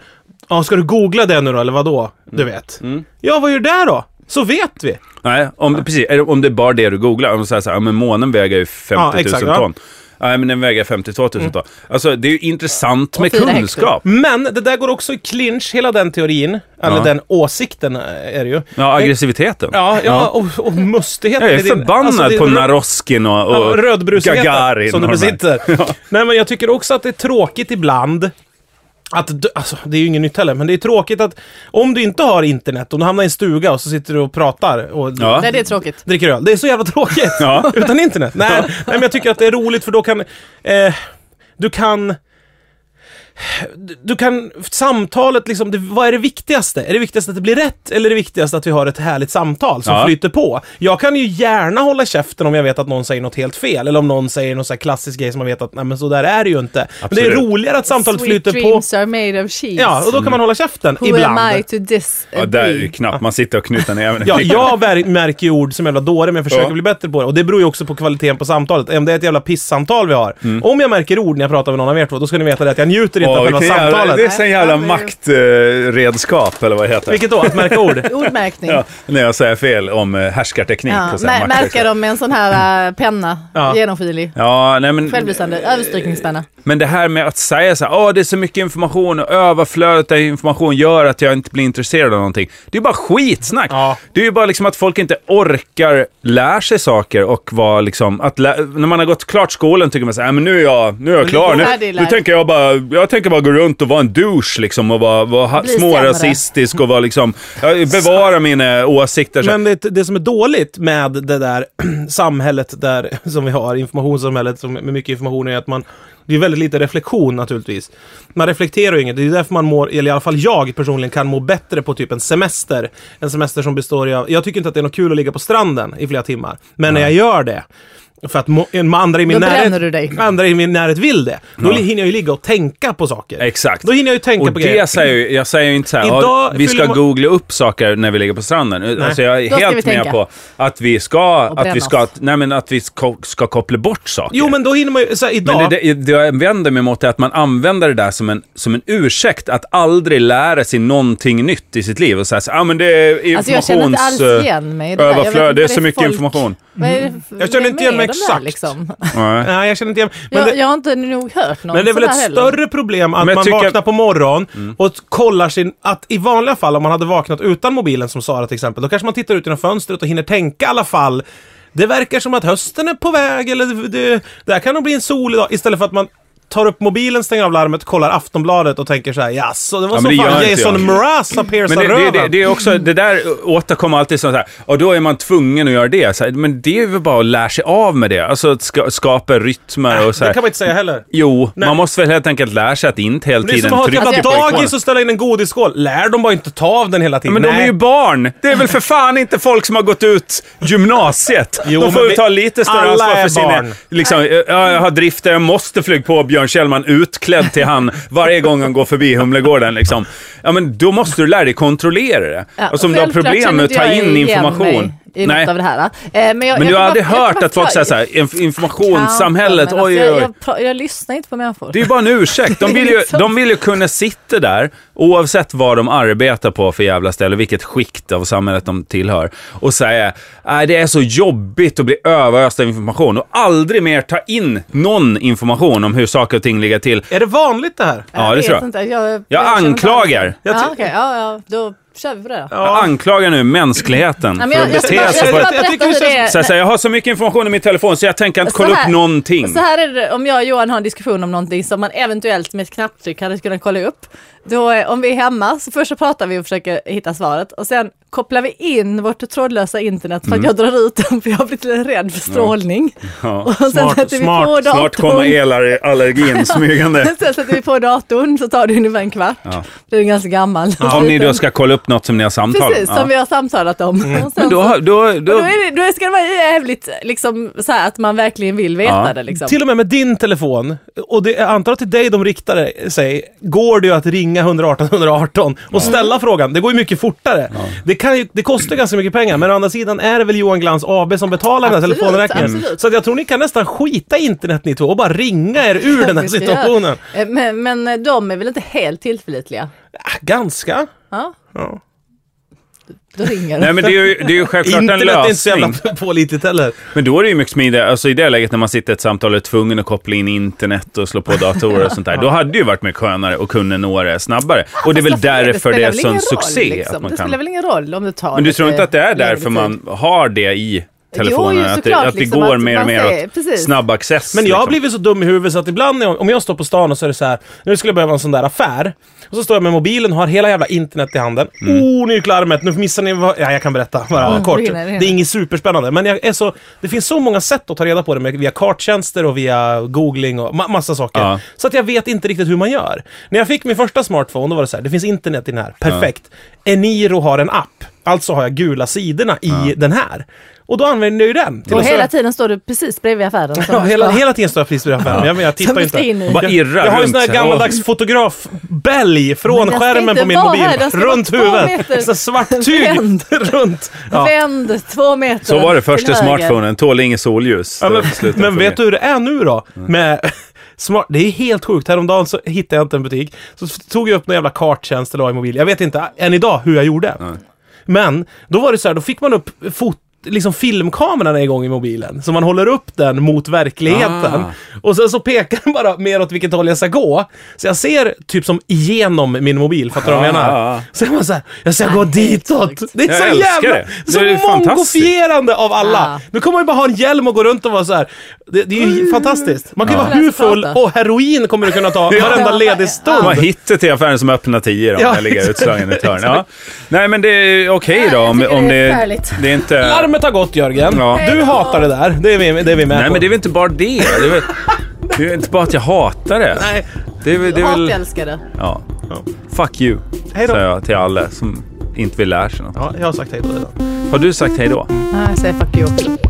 Speaker 2: Ja, ska du googla det nu då, eller vad då? Du
Speaker 4: Mm.
Speaker 2: vet. Ja, vad gör du där då? Så vet vi.
Speaker 4: Nej, om, det- precis, eller om det är bara det du googlar, om du säger så här, ja, men månen väger ju 50 000
Speaker 2: Ja, exakt, ja. Mm.
Speaker 4: ton. Nej, men den väger 52 000 ton. Alltså, det är ju intressant med
Speaker 3: fyra hektar.
Speaker 4: kunskap.
Speaker 2: Men det där går också i clinch, hela den teorin, eller
Speaker 4: Ja.
Speaker 2: den åsikten eh, är det ju.
Speaker 4: Ja, aggressiviteten.
Speaker 2: Ja, ja och, och mustigheten.
Speaker 4: Jag är
Speaker 2: i din-
Speaker 4: förbannad
Speaker 2: alltså, din
Speaker 4: på
Speaker 2: rö-
Speaker 4: Naroskin och,
Speaker 2: Ja,
Speaker 4: och Gagarin.
Speaker 2: Rödbrusigheten som du
Speaker 4: och de här.
Speaker 2: besitter. Nej, men jag tycker också att det är tråkigt ibland att, du- alltså, det är ju inget nytt heller, men det är tråkigt att om du inte har internet, om du hamnar i en stuga och så sitter du och pratar och
Speaker 4: Ja.
Speaker 3: Nej, det är tråkigt.
Speaker 2: dricker öl. Det är så jävla tråkigt!
Speaker 4: Ja.
Speaker 2: Utan internet. Nej, nej, men jag tycker att det är roligt för då kan... Eh, du kan... du- du kan, samtalet liksom, det, vad är det viktigaste? Är det viktigast att det blir rätt eller är det viktigast att vi har ett härligt samtal som
Speaker 4: Ja.
Speaker 2: flyter på? Jag kan ju gärna hålla käften om jag vet att någon säger något helt fel eller om någon säger någon så här klassisk grej som man vet att, nej men så där är det ju inte. Men det är
Speaker 4: Absolut.
Speaker 2: roligare att samtalet
Speaker 3: Sweet
Speaker 2: flyter på.
Speaker 3: dreams are made of cheese.
Speaker 2: Ja, och då kan man hålla käften
Speaker 3: Who
Speaker 2: ibland.
Speaker 3: am I to this?
Speaker 4: Ja, där är ju knappt. Man sitter och knutar ner.
Speaker 2: Ja, jag ver- märker ju ord som jävla dåre, men jag försöker
Speaker 4: Ja.
Speaker 2: bli bättre på det. Och det beror ju också på kvaliteten på samtalet. Om det är ett jävla pissamtal vi har.
Speaker 4: Mm.
Speaker 2: Om jag märker ord när jag pratar med någon av er två, då ska ni veta det att jag njuter inte
Speaker 4: Åh,
Speaker 2: av själva
Speaker 4: vilken jävla-
Speaker 2: samtalet.
Speaker 4: det är sån jävla maktredskap, eller vad det heter.
Speaker 2: Vilket då? Att märka ord?
Speaker 3: Ordmärkning.
Speaker 4: Ja, när jag säger fel om eh, härskarteknik.
Speaker 3: Ja,
Speaker 4: och så här
Speaker 3: mär-
Speaker 4: makt-
Speaker 3: märka dem med en sån här
Speaker 4: Mm.
Speaker 3: äh, penna,
Speaker 2: Ja.
Speaker 3: genomskinlig.
Speaker 4: Ja, nej men...
Speaker 3: Självlysande, överstrykningspenna.
Speaker 4: Men det här med att säga så här, åh det är så mycket information och överflödet av information gör att jag inte blir intresserad av någonting. Det är ju bara skitsnack.
Speaker 2: Ja.
Speaker 4: Det är ju bara liksom att folk inte orkar lära sig saker och vara liksom, att lä- när man har gått klart skolan tycker man så här, "Nej, men nu är jag, nu är jag klar.
Speaker 3: lite
Speaker 4: Nu,
Speaker 3: färdig
Speaker 4: nu
Speaker 3: lärd."
Speaker 4: tänker jag bara, jag tänker bara gå runt och vara en douche liksom och vara, vara ha-
Speaker 3: Bli sämre.
Speaker 4: smårasistisk och vara liksom, ja, bevara mina åsikter. Så.
Speaker 2: Men det, det som är dåligt med det där samhället där, som vi har, informationssamhället som, med mycket information, är att man det är väldigt lite reflektion naturligtvis. Man reflekterar ju inget. Det är därför man mår, eller i alla fall jag personligen, kan må bättre på typ en semester. En semester som består av... Jag tycker inte att det är något kul att ligga på stranden i flera timmar. Men när jag gör det, för att må, en- andra i min
Speaker 3: Då bränner
Speaker 2: närhet...
Speaker 3: du dig.
Speaker 2: Andra i min närhet vill det. Då hinner jag ju ligga och tänka på saker.
Speaker 4: Exakt.
Speaker 2: Då hinner jag ju tänka
Speaker 4: och
Speaker 2: på
Speaker 4: det
Speaker 2: grejer.
Speaker 4: Säger, ju- jag säger ju inte så här,
Speaker 2: Idag
Speaker 4: "Ja, vi
Speaker 2: fyller
Speaker 4: ska
Speaker 2: man-
Speaker 4: googla upp saker när vi ligger på stranden. Alltså jag är
Speaker 3: Då ska
Speaker 4: helt
Speaker 3: vi
Speaker 4: med
Speaker 3: tänka.
Speaker 4: på att vi ska,
Speaker 3: Och
Speaker 4: att vi ska,
Speaker 3: brännas.
Speaker 4: nej men att vi ska, ska koppla bort saker.
Speaker 2: Jo, men då hinner man ju... Så här, idag...
Speaker 4: Men det, det, det jag vänder mig mot är att man använder det där som en, som en ursäkt att aldrig lära sig någonting nytt i sitt liv. Och så här, så, ah, men det är
Speaker 3: Alltså jag
Speaker 4: informations...
Speaker 3: känner inte alls igen mig i det där. Jag vet
Speaker 4: överflöd.
Speaker 3: inte
Speaker 4: Det är
Speaker 3: vad
Speaker 4: så mycket
Speaker 3: folk-
Speaker 4: information. Mm.
Speaker 3: vad är det-
Speaker 2: Jag känner inte igen
Speaker 3: vem
Speaker 2: mig
Speaker 3: är de där,
Speaker 2: exakt.
Speaker 3: Liksom?
Speaker 4: Nej.
Speaker 2: Nej, jag känner inte igen... men det-
Speaker 3: Jag, jag har inte nog hört någon
Speaker 2: Men det är väl
Speaker 3: sån
Speaker 2: ett
Speaker 3: här heller.
Speaker 2: större problem att
Speaker 4: Men jag
Speaker 2: man
Speaker 4: tycker- Mm.
Speaker 2: vaknar på morgonen och kollar sin... Att i vanliga fall, om man hade vaknat utan mobilen som Sara till exempel, då kanske man tittar ut genom fönstret och hinner tänka i alla fall. Det verkar som att hösten är på väg eller det, det, det här kan nog bli en solig dag. Istället för att man tar upp mobilen, stänger av larmet, kollar Aftonbladet och tänker så här jaså, det var
Speaker 4: Ja,
Speaker 2: så
Speaker 4: men det
Speaker 2: fan
Speaker 4: gör inte jag."
Speaker 2: Jason Mraz har
Speaker 4: Men
Speaker 2: piercat
Speaker 4: det, det,
Speaker 2: röven.
Speaker 4: det, det är också, det där återkommer alltid som så här, och då är man tvungen att göra det. Så här, men det är väl bara att lära sig av med det. Alltså att ska, skapa rytmer och så här.
Speaker 2: det kan man inte säga heller.
Speaker 4: Jo,
Speaker 2: Nej.
Speaker 4: man måste väl helt enkelt lära sig att inte hela
Speaker 2: Det är
Speaker 4: tiden
Speaker 2: som att ha ett
Speaker 4: trycka
Speaker 2: jävla
Speaker 4: på ikonen.
Speaker 2: dagis och ställa in en godisskål. Lär de bara inte ta av den hela tiden.
Speaker 4: Men de
Speaker 2: Nej.
Speaker 4: är ju barn! Det är väl för fan inte folk som har gått ut gymnasiet.
Speaker 2: Jo,
Speaker 4: de får
Speaker 2: men
Speaker 4: ju
Speaker 2: vi-
Speaker 4: ta lite större
Speaker 2: alla
Speaker 4: ansvar
Speaker 2: är
Speaker 4: för sina...
Speaker 2: barn.
Speaker 4: Liksom, ja, jag har drifter, jag måste flyga på Björn Kjellman utklädd till han varje gång han går förbi Humlegården. Liksom. Ja, men då måste du lära dig kontrollera det.
Speaker 3: Ja,
Speaker 4: och som alltså, du har
Speaker 3: självklart
Speaker 4: problem med att ta
Speaker 3: känner inte
Speaker 4: in
Speaker 3: jag igen
Speaker 4: information.
Speaker 3: mig I något av det här. eh. Eh, Men, jag, jag
Speaker 4: Men du
Speaker 3: kan
Speaker 4: har aldrig
Speaker 3: bara- jag
Speaker 4: hört
Speaker 3: kan
Speaker 4: att folk
Speaker 3: bara-
Speaker 4: säger såhär, inf- informationssamhället,
Speaker 3: Kanske, men
Speaker 4: oj
Speaker 3: alltså,
Speaker 4: oj oj.
Speaker 3: Jag, jag, pra- jag lyssnar inte på människor.
Speaker 4: Det är ju bara en ursäkt. De vill, ju,
Speaker 3: Liksom.
Speaker 4: de vill ju kunna sitta där, oavsett vad de arbetar på för jävla ställe, vilket skikt av samhället de tillhör, och säga nej det är så jobbigt att bli överöst av information och aldrig mer ta in någon information om hur saker och ting ligger till.
Speaker 2: Är det vanligt det här?
Speaker 4: Ja, det
Speaker 3: vet
Speaker 4: tror jag.
Speaker 3: Inte. Jag, jag,
Speaker 4: Jag
Speaker 3: känner inte alls-
Speaker 4: anklagar.
Speaker 2: Jag
Speaker 3: Ja,
Speaker 2: tror-
Speaker 3: okej. Ja, ja, då kör vi på det då.
Speaker 4: Jag anklagar nu mänskligheten
Speaker 3: Nej, men
Speaker 4: för
Speaker 3: jag,
Speaker 4: att
Speaker 3: jag, ska bara-
Speaker 4: bete
Speaker 3: jag ska
Speaker 4: sig på
Speaker 3: bara
Speaker 4: ett...
Speaker 2: jag tycker
Speaker 3: berätta
Speaker 2: det
Speaker 3: hur det
Speaker 2: känns-
Speaker 3: är.
Speaker 4: Så här, så här, jag har så mycket information i min telefon så jag tänker inte
Speaker 3: Så
Speaker 4: kolla
Speaker 3: här-
Speaker 4: upp någonting.
Speaker 3: Så här är det, om jag och Johan har en diskussion om någonting som man eventuellt med ett knapptryck hade kunnat kolla upp. Då, eh, om vi är hemma, så först så pratar vi och försöker hitta svaret och sen kopplar vi in vårt trådlösa internet
Speaker 4: Mm.
Speaker 3: för att jag drar ut den för jag har blivit lite rädd för strålning.
Speaker 4: Ja.
Speaker 3: Och sen
Speaker 2: Smart,
Speaker 3: sätter vi
Speaker 2: smart,
Speaker 3: på datorn.
Speaker 4: Snart kommer elallergin smygande.
Speaker 3: Sen sätter vi på datorn så tar det ungefär en kvart.
Speaker 4: Ja.
Speaker 3: Det är ganska gammal.
Speaker 4: Om ni då ska kolla upp något som ni har samtalat
Speaker 3: Precis,
Speaker 4: Ja. Mm.
Speaker 3: som vi har samtalat om. Och sen
Speaker 4: Men då,
Speaker 3: så-
Speaker 4: har- då, då,
Speaker 3: då, är det, då ska det vara jävligt liksom, så här, att man verkligen vill veta
Speaker 4: Ja.
Speaker 3: det. Liksom.
Speaker 2: Till och med med din telefon, och det, jag antar att till dig de riktar sig, går det ju att ringa 118 118 och ställa frågan. Det går ju mycket fortare. Det, kan ju, det kostar ju ganska mycket pengar, men å andra sidan är det väl Johan Glans AB som betalar den här
Speaker 3: Absolut,
Speaker 2: telefonräkningen.
Speaker 3: absolut.
Speaker 2: Så att jag tror ni kan nästan skita i internet ni två och bara ringa er ur den här
Speaker 3: Vi ska
Speaker 2: situationen.
Speaker 3: göra. Eh, Men, men de är väl inte helt tillförlitliga?
Speaker 2: Ah, Ganska.
Speaker 3: Ja,
Speaker 2: Ja.
Speaker 3: då ringer
Speaker 4: Nej
Speaker 3: de.
Speaker 4: men det är ju, det är ju självklart en
Speaker 2: Internet är inte så
Speaker 4: lösning.
Speaker 2: jävla pålitligt heller.
Speaker 4: Men då är det ju mycket smidigare, alltså i det läget när man sitter i ett samtal och är tvungen att koppla in internet och slå på datorer och sånt där. Då hade det ju varit mycket skönare och kunde nå det snabbare. Och det är väl därför det
Speaker 3: spelar
Speaker 4: är en
Speaker 3: väl ingen
Speaker 4: sån
Speaker 3: roll,
Speaker 4: succé.
Speaker 3: liksom.
Speaker 4: Att man
Speaker 3: det spelar
Speaker 4: kan...
Speaker 3: väl ingen roll om det tar
Speaker 4: Men du
Speaker 3: lite
Speaker 4: tror inte att det är
Speaker 3: längre
Speaker 4: därför
Speaker 3: tid?
Speaker 4: man har det i telefonen.
Speaker 3: Jo, ju
Speaker 4: att det,
Speaker 3: såklart,
Speaker 4: att det
Speaker 3: liksom,
Speaker 4: går
Speaker 3: att
Speaker 4: mer
Speaker 3: man
Speaker 4: och mer
Speaker 3: säger-
Speaker 4: åt
Speaker 3: precis.
Speaker 4: snabb access.
Speaker 2: Men jag har
Speaker 4: liksom.
Speaker 2: blivit så dum i huvudet så att ibland när jag, om jag står på stan och så är det så här, nu skulle jag behöva en sån där affär. Och så står jag med mobilen och har hela jävla internet i handen. Oh, nu gick larmet, nu missar ni vad... Ja, jag kan berätta bara kort.
Speaker 3: du hinner, du
Speaker 2: Det
Speaker 3: hinner.
Speaker 2: är inget superspännande, men jag är så, det finns så många sätt att ta reda på det med, via karttjänster och via googling och ma- massa saker.
Speaker 4: Ja.
Speaker 2: Så att jag vet inte riktigt hur man gör. När jag fick min första smartphone, då var det så här, det finns internet i den här, perfekt. Eniro har en app, alltså har jag gula sidorna i den här. Och då använder jag ju den. till
Speaker 3: Och
Speaker 2: att-
Speaker 3: hela tiden står du precis bredvid affären. som
Speaker 2: Ja,
Speaker 3: du
Speaker 2: hela,
Speaker 3: ska-
Speaker 2: hela tiden står jag precis vid affären. Jag, men jag
Speaker 3: som
Speaker 2: tittar
Speaker 3: du
Speaker 2: inte.
Speaker 3: ska in i.
Speaker 4: Och bara irrar
Speaker 2: Jag har en
Speaker 4: runt.
Speaker 2: sån här
Speaker 4: Ja.
Speaker 2: gammaldags fotografbälg från
Speaker 3: den ska
Speaker 2: skärmen
Speaker 3: inte
Speaker 2: på min
Speaker 3: vara
Speaker 2: mobil.
Speaker 3: här, den ska
Speaker 2: runt
Speaker 3: vara två
Speaker 2: huvudet.
Speaker 3: meter.
Speaker 2: Så svart tyg
Speaker 3: Vänd.
Speaker 2: runt. Ja.
Speaker 3: Vänd två meter
Speaker 4: Så var det första
Speaker 3: till höger.
Speaker 4: smartphonen, tål inget solljus.
Speaker 2: Ja,
Speaker 4: Det
Speaker 2: men
Speaker 4: slutade
Speaker 2: men
Speaker 4: fungera.
Speaker 2: vet du hur det är nu då? Med smart, det är helt sjukt. Häromdagen så hittade jag inte en butik. Så tog jag upp någon jävla karttjänst eller vad i mobil. Jag vet inte än idag hur jag gjorde. Men då var det så här, då fick man upp fot liksom filmkameran är igång i mobilen. Så man håller upp den mot verkligheten.
Speaker 4: Ah.
Speaker 2: Och sen så pekar den bara mer åt vilket håll jag ska gå. Så jag ser typ som igenom min mobil, fattar du vad jag
Speaker 4: Ah,
Speaker 2: menar?
Speaker 4: ah, ah.
Speaker 2: Så jag bara så här, jag ska gå ditåt. Det är
Speaker 4: Jag
Speaker 2: så
Speaker 4: älskar
Speaker 2: jävla...
Speaker 4: det. Det
Speaker 2: Så
Speaker 4: är ju fantastiskt.
Speaker 2: mongofierande av alla.
Speaker 3: Ah.
Speaker 2: Nu kommer man ju bara ha en hjälm och gå runt och vara så här. Det, det är ju fantastiskt. Man kan ju
Speaker 3: Ja.
Speaker 2: vara hur
Speaker 3: Läsa
Speaker 2: full
Speaker 3: prata.
Speaker 2: och heroin kommer du kunna ta varenda
Speaker 3: Ja.
Speaker 2: ledig
Speaker 4: De
Speaker 2: stund.
Speaker 4: har hittat till affären som öppnar tio då,
Speaker 2: Alltså- Ja,
Speaker 4: när ligger
Speaker 2: exakt.
Speaker 4: utslagen i ett hörn. Ja. Nej men det är okej då om,
Speaker 5: tycker det
Speaker 4: om det,
Speaker 5: är
Speaker 4: det,
Speaker 5: förfärligt.
Speaker 4: är inte...
Speaker 2: Larmet har gått Jörgen.
Speaker 4: Ja.
Speaker 2: Du hatar det där. Det är vi, det är vi med
Speaker 4: Nej
Speaker 2: på.
Speaker 4: men det är väl inte bara det. Det är väl, det är väl inte bara att jag hatar det.
Speaker 2: Nej.
Speaker 4: Det är, väl- det är väl...
Speaker 3: Hatälskare.
Speaker 4: Ja. Fuck you,
Speaker 2: Hej då.
Speaker 4: sa jag till alla som inte vill lära sig något.
Speaker 2: Ja, jag har sagt hej då redan.
Speaker 4: Har du sagt hej då?
Speaker 3: Nej, jag säger fuck you också.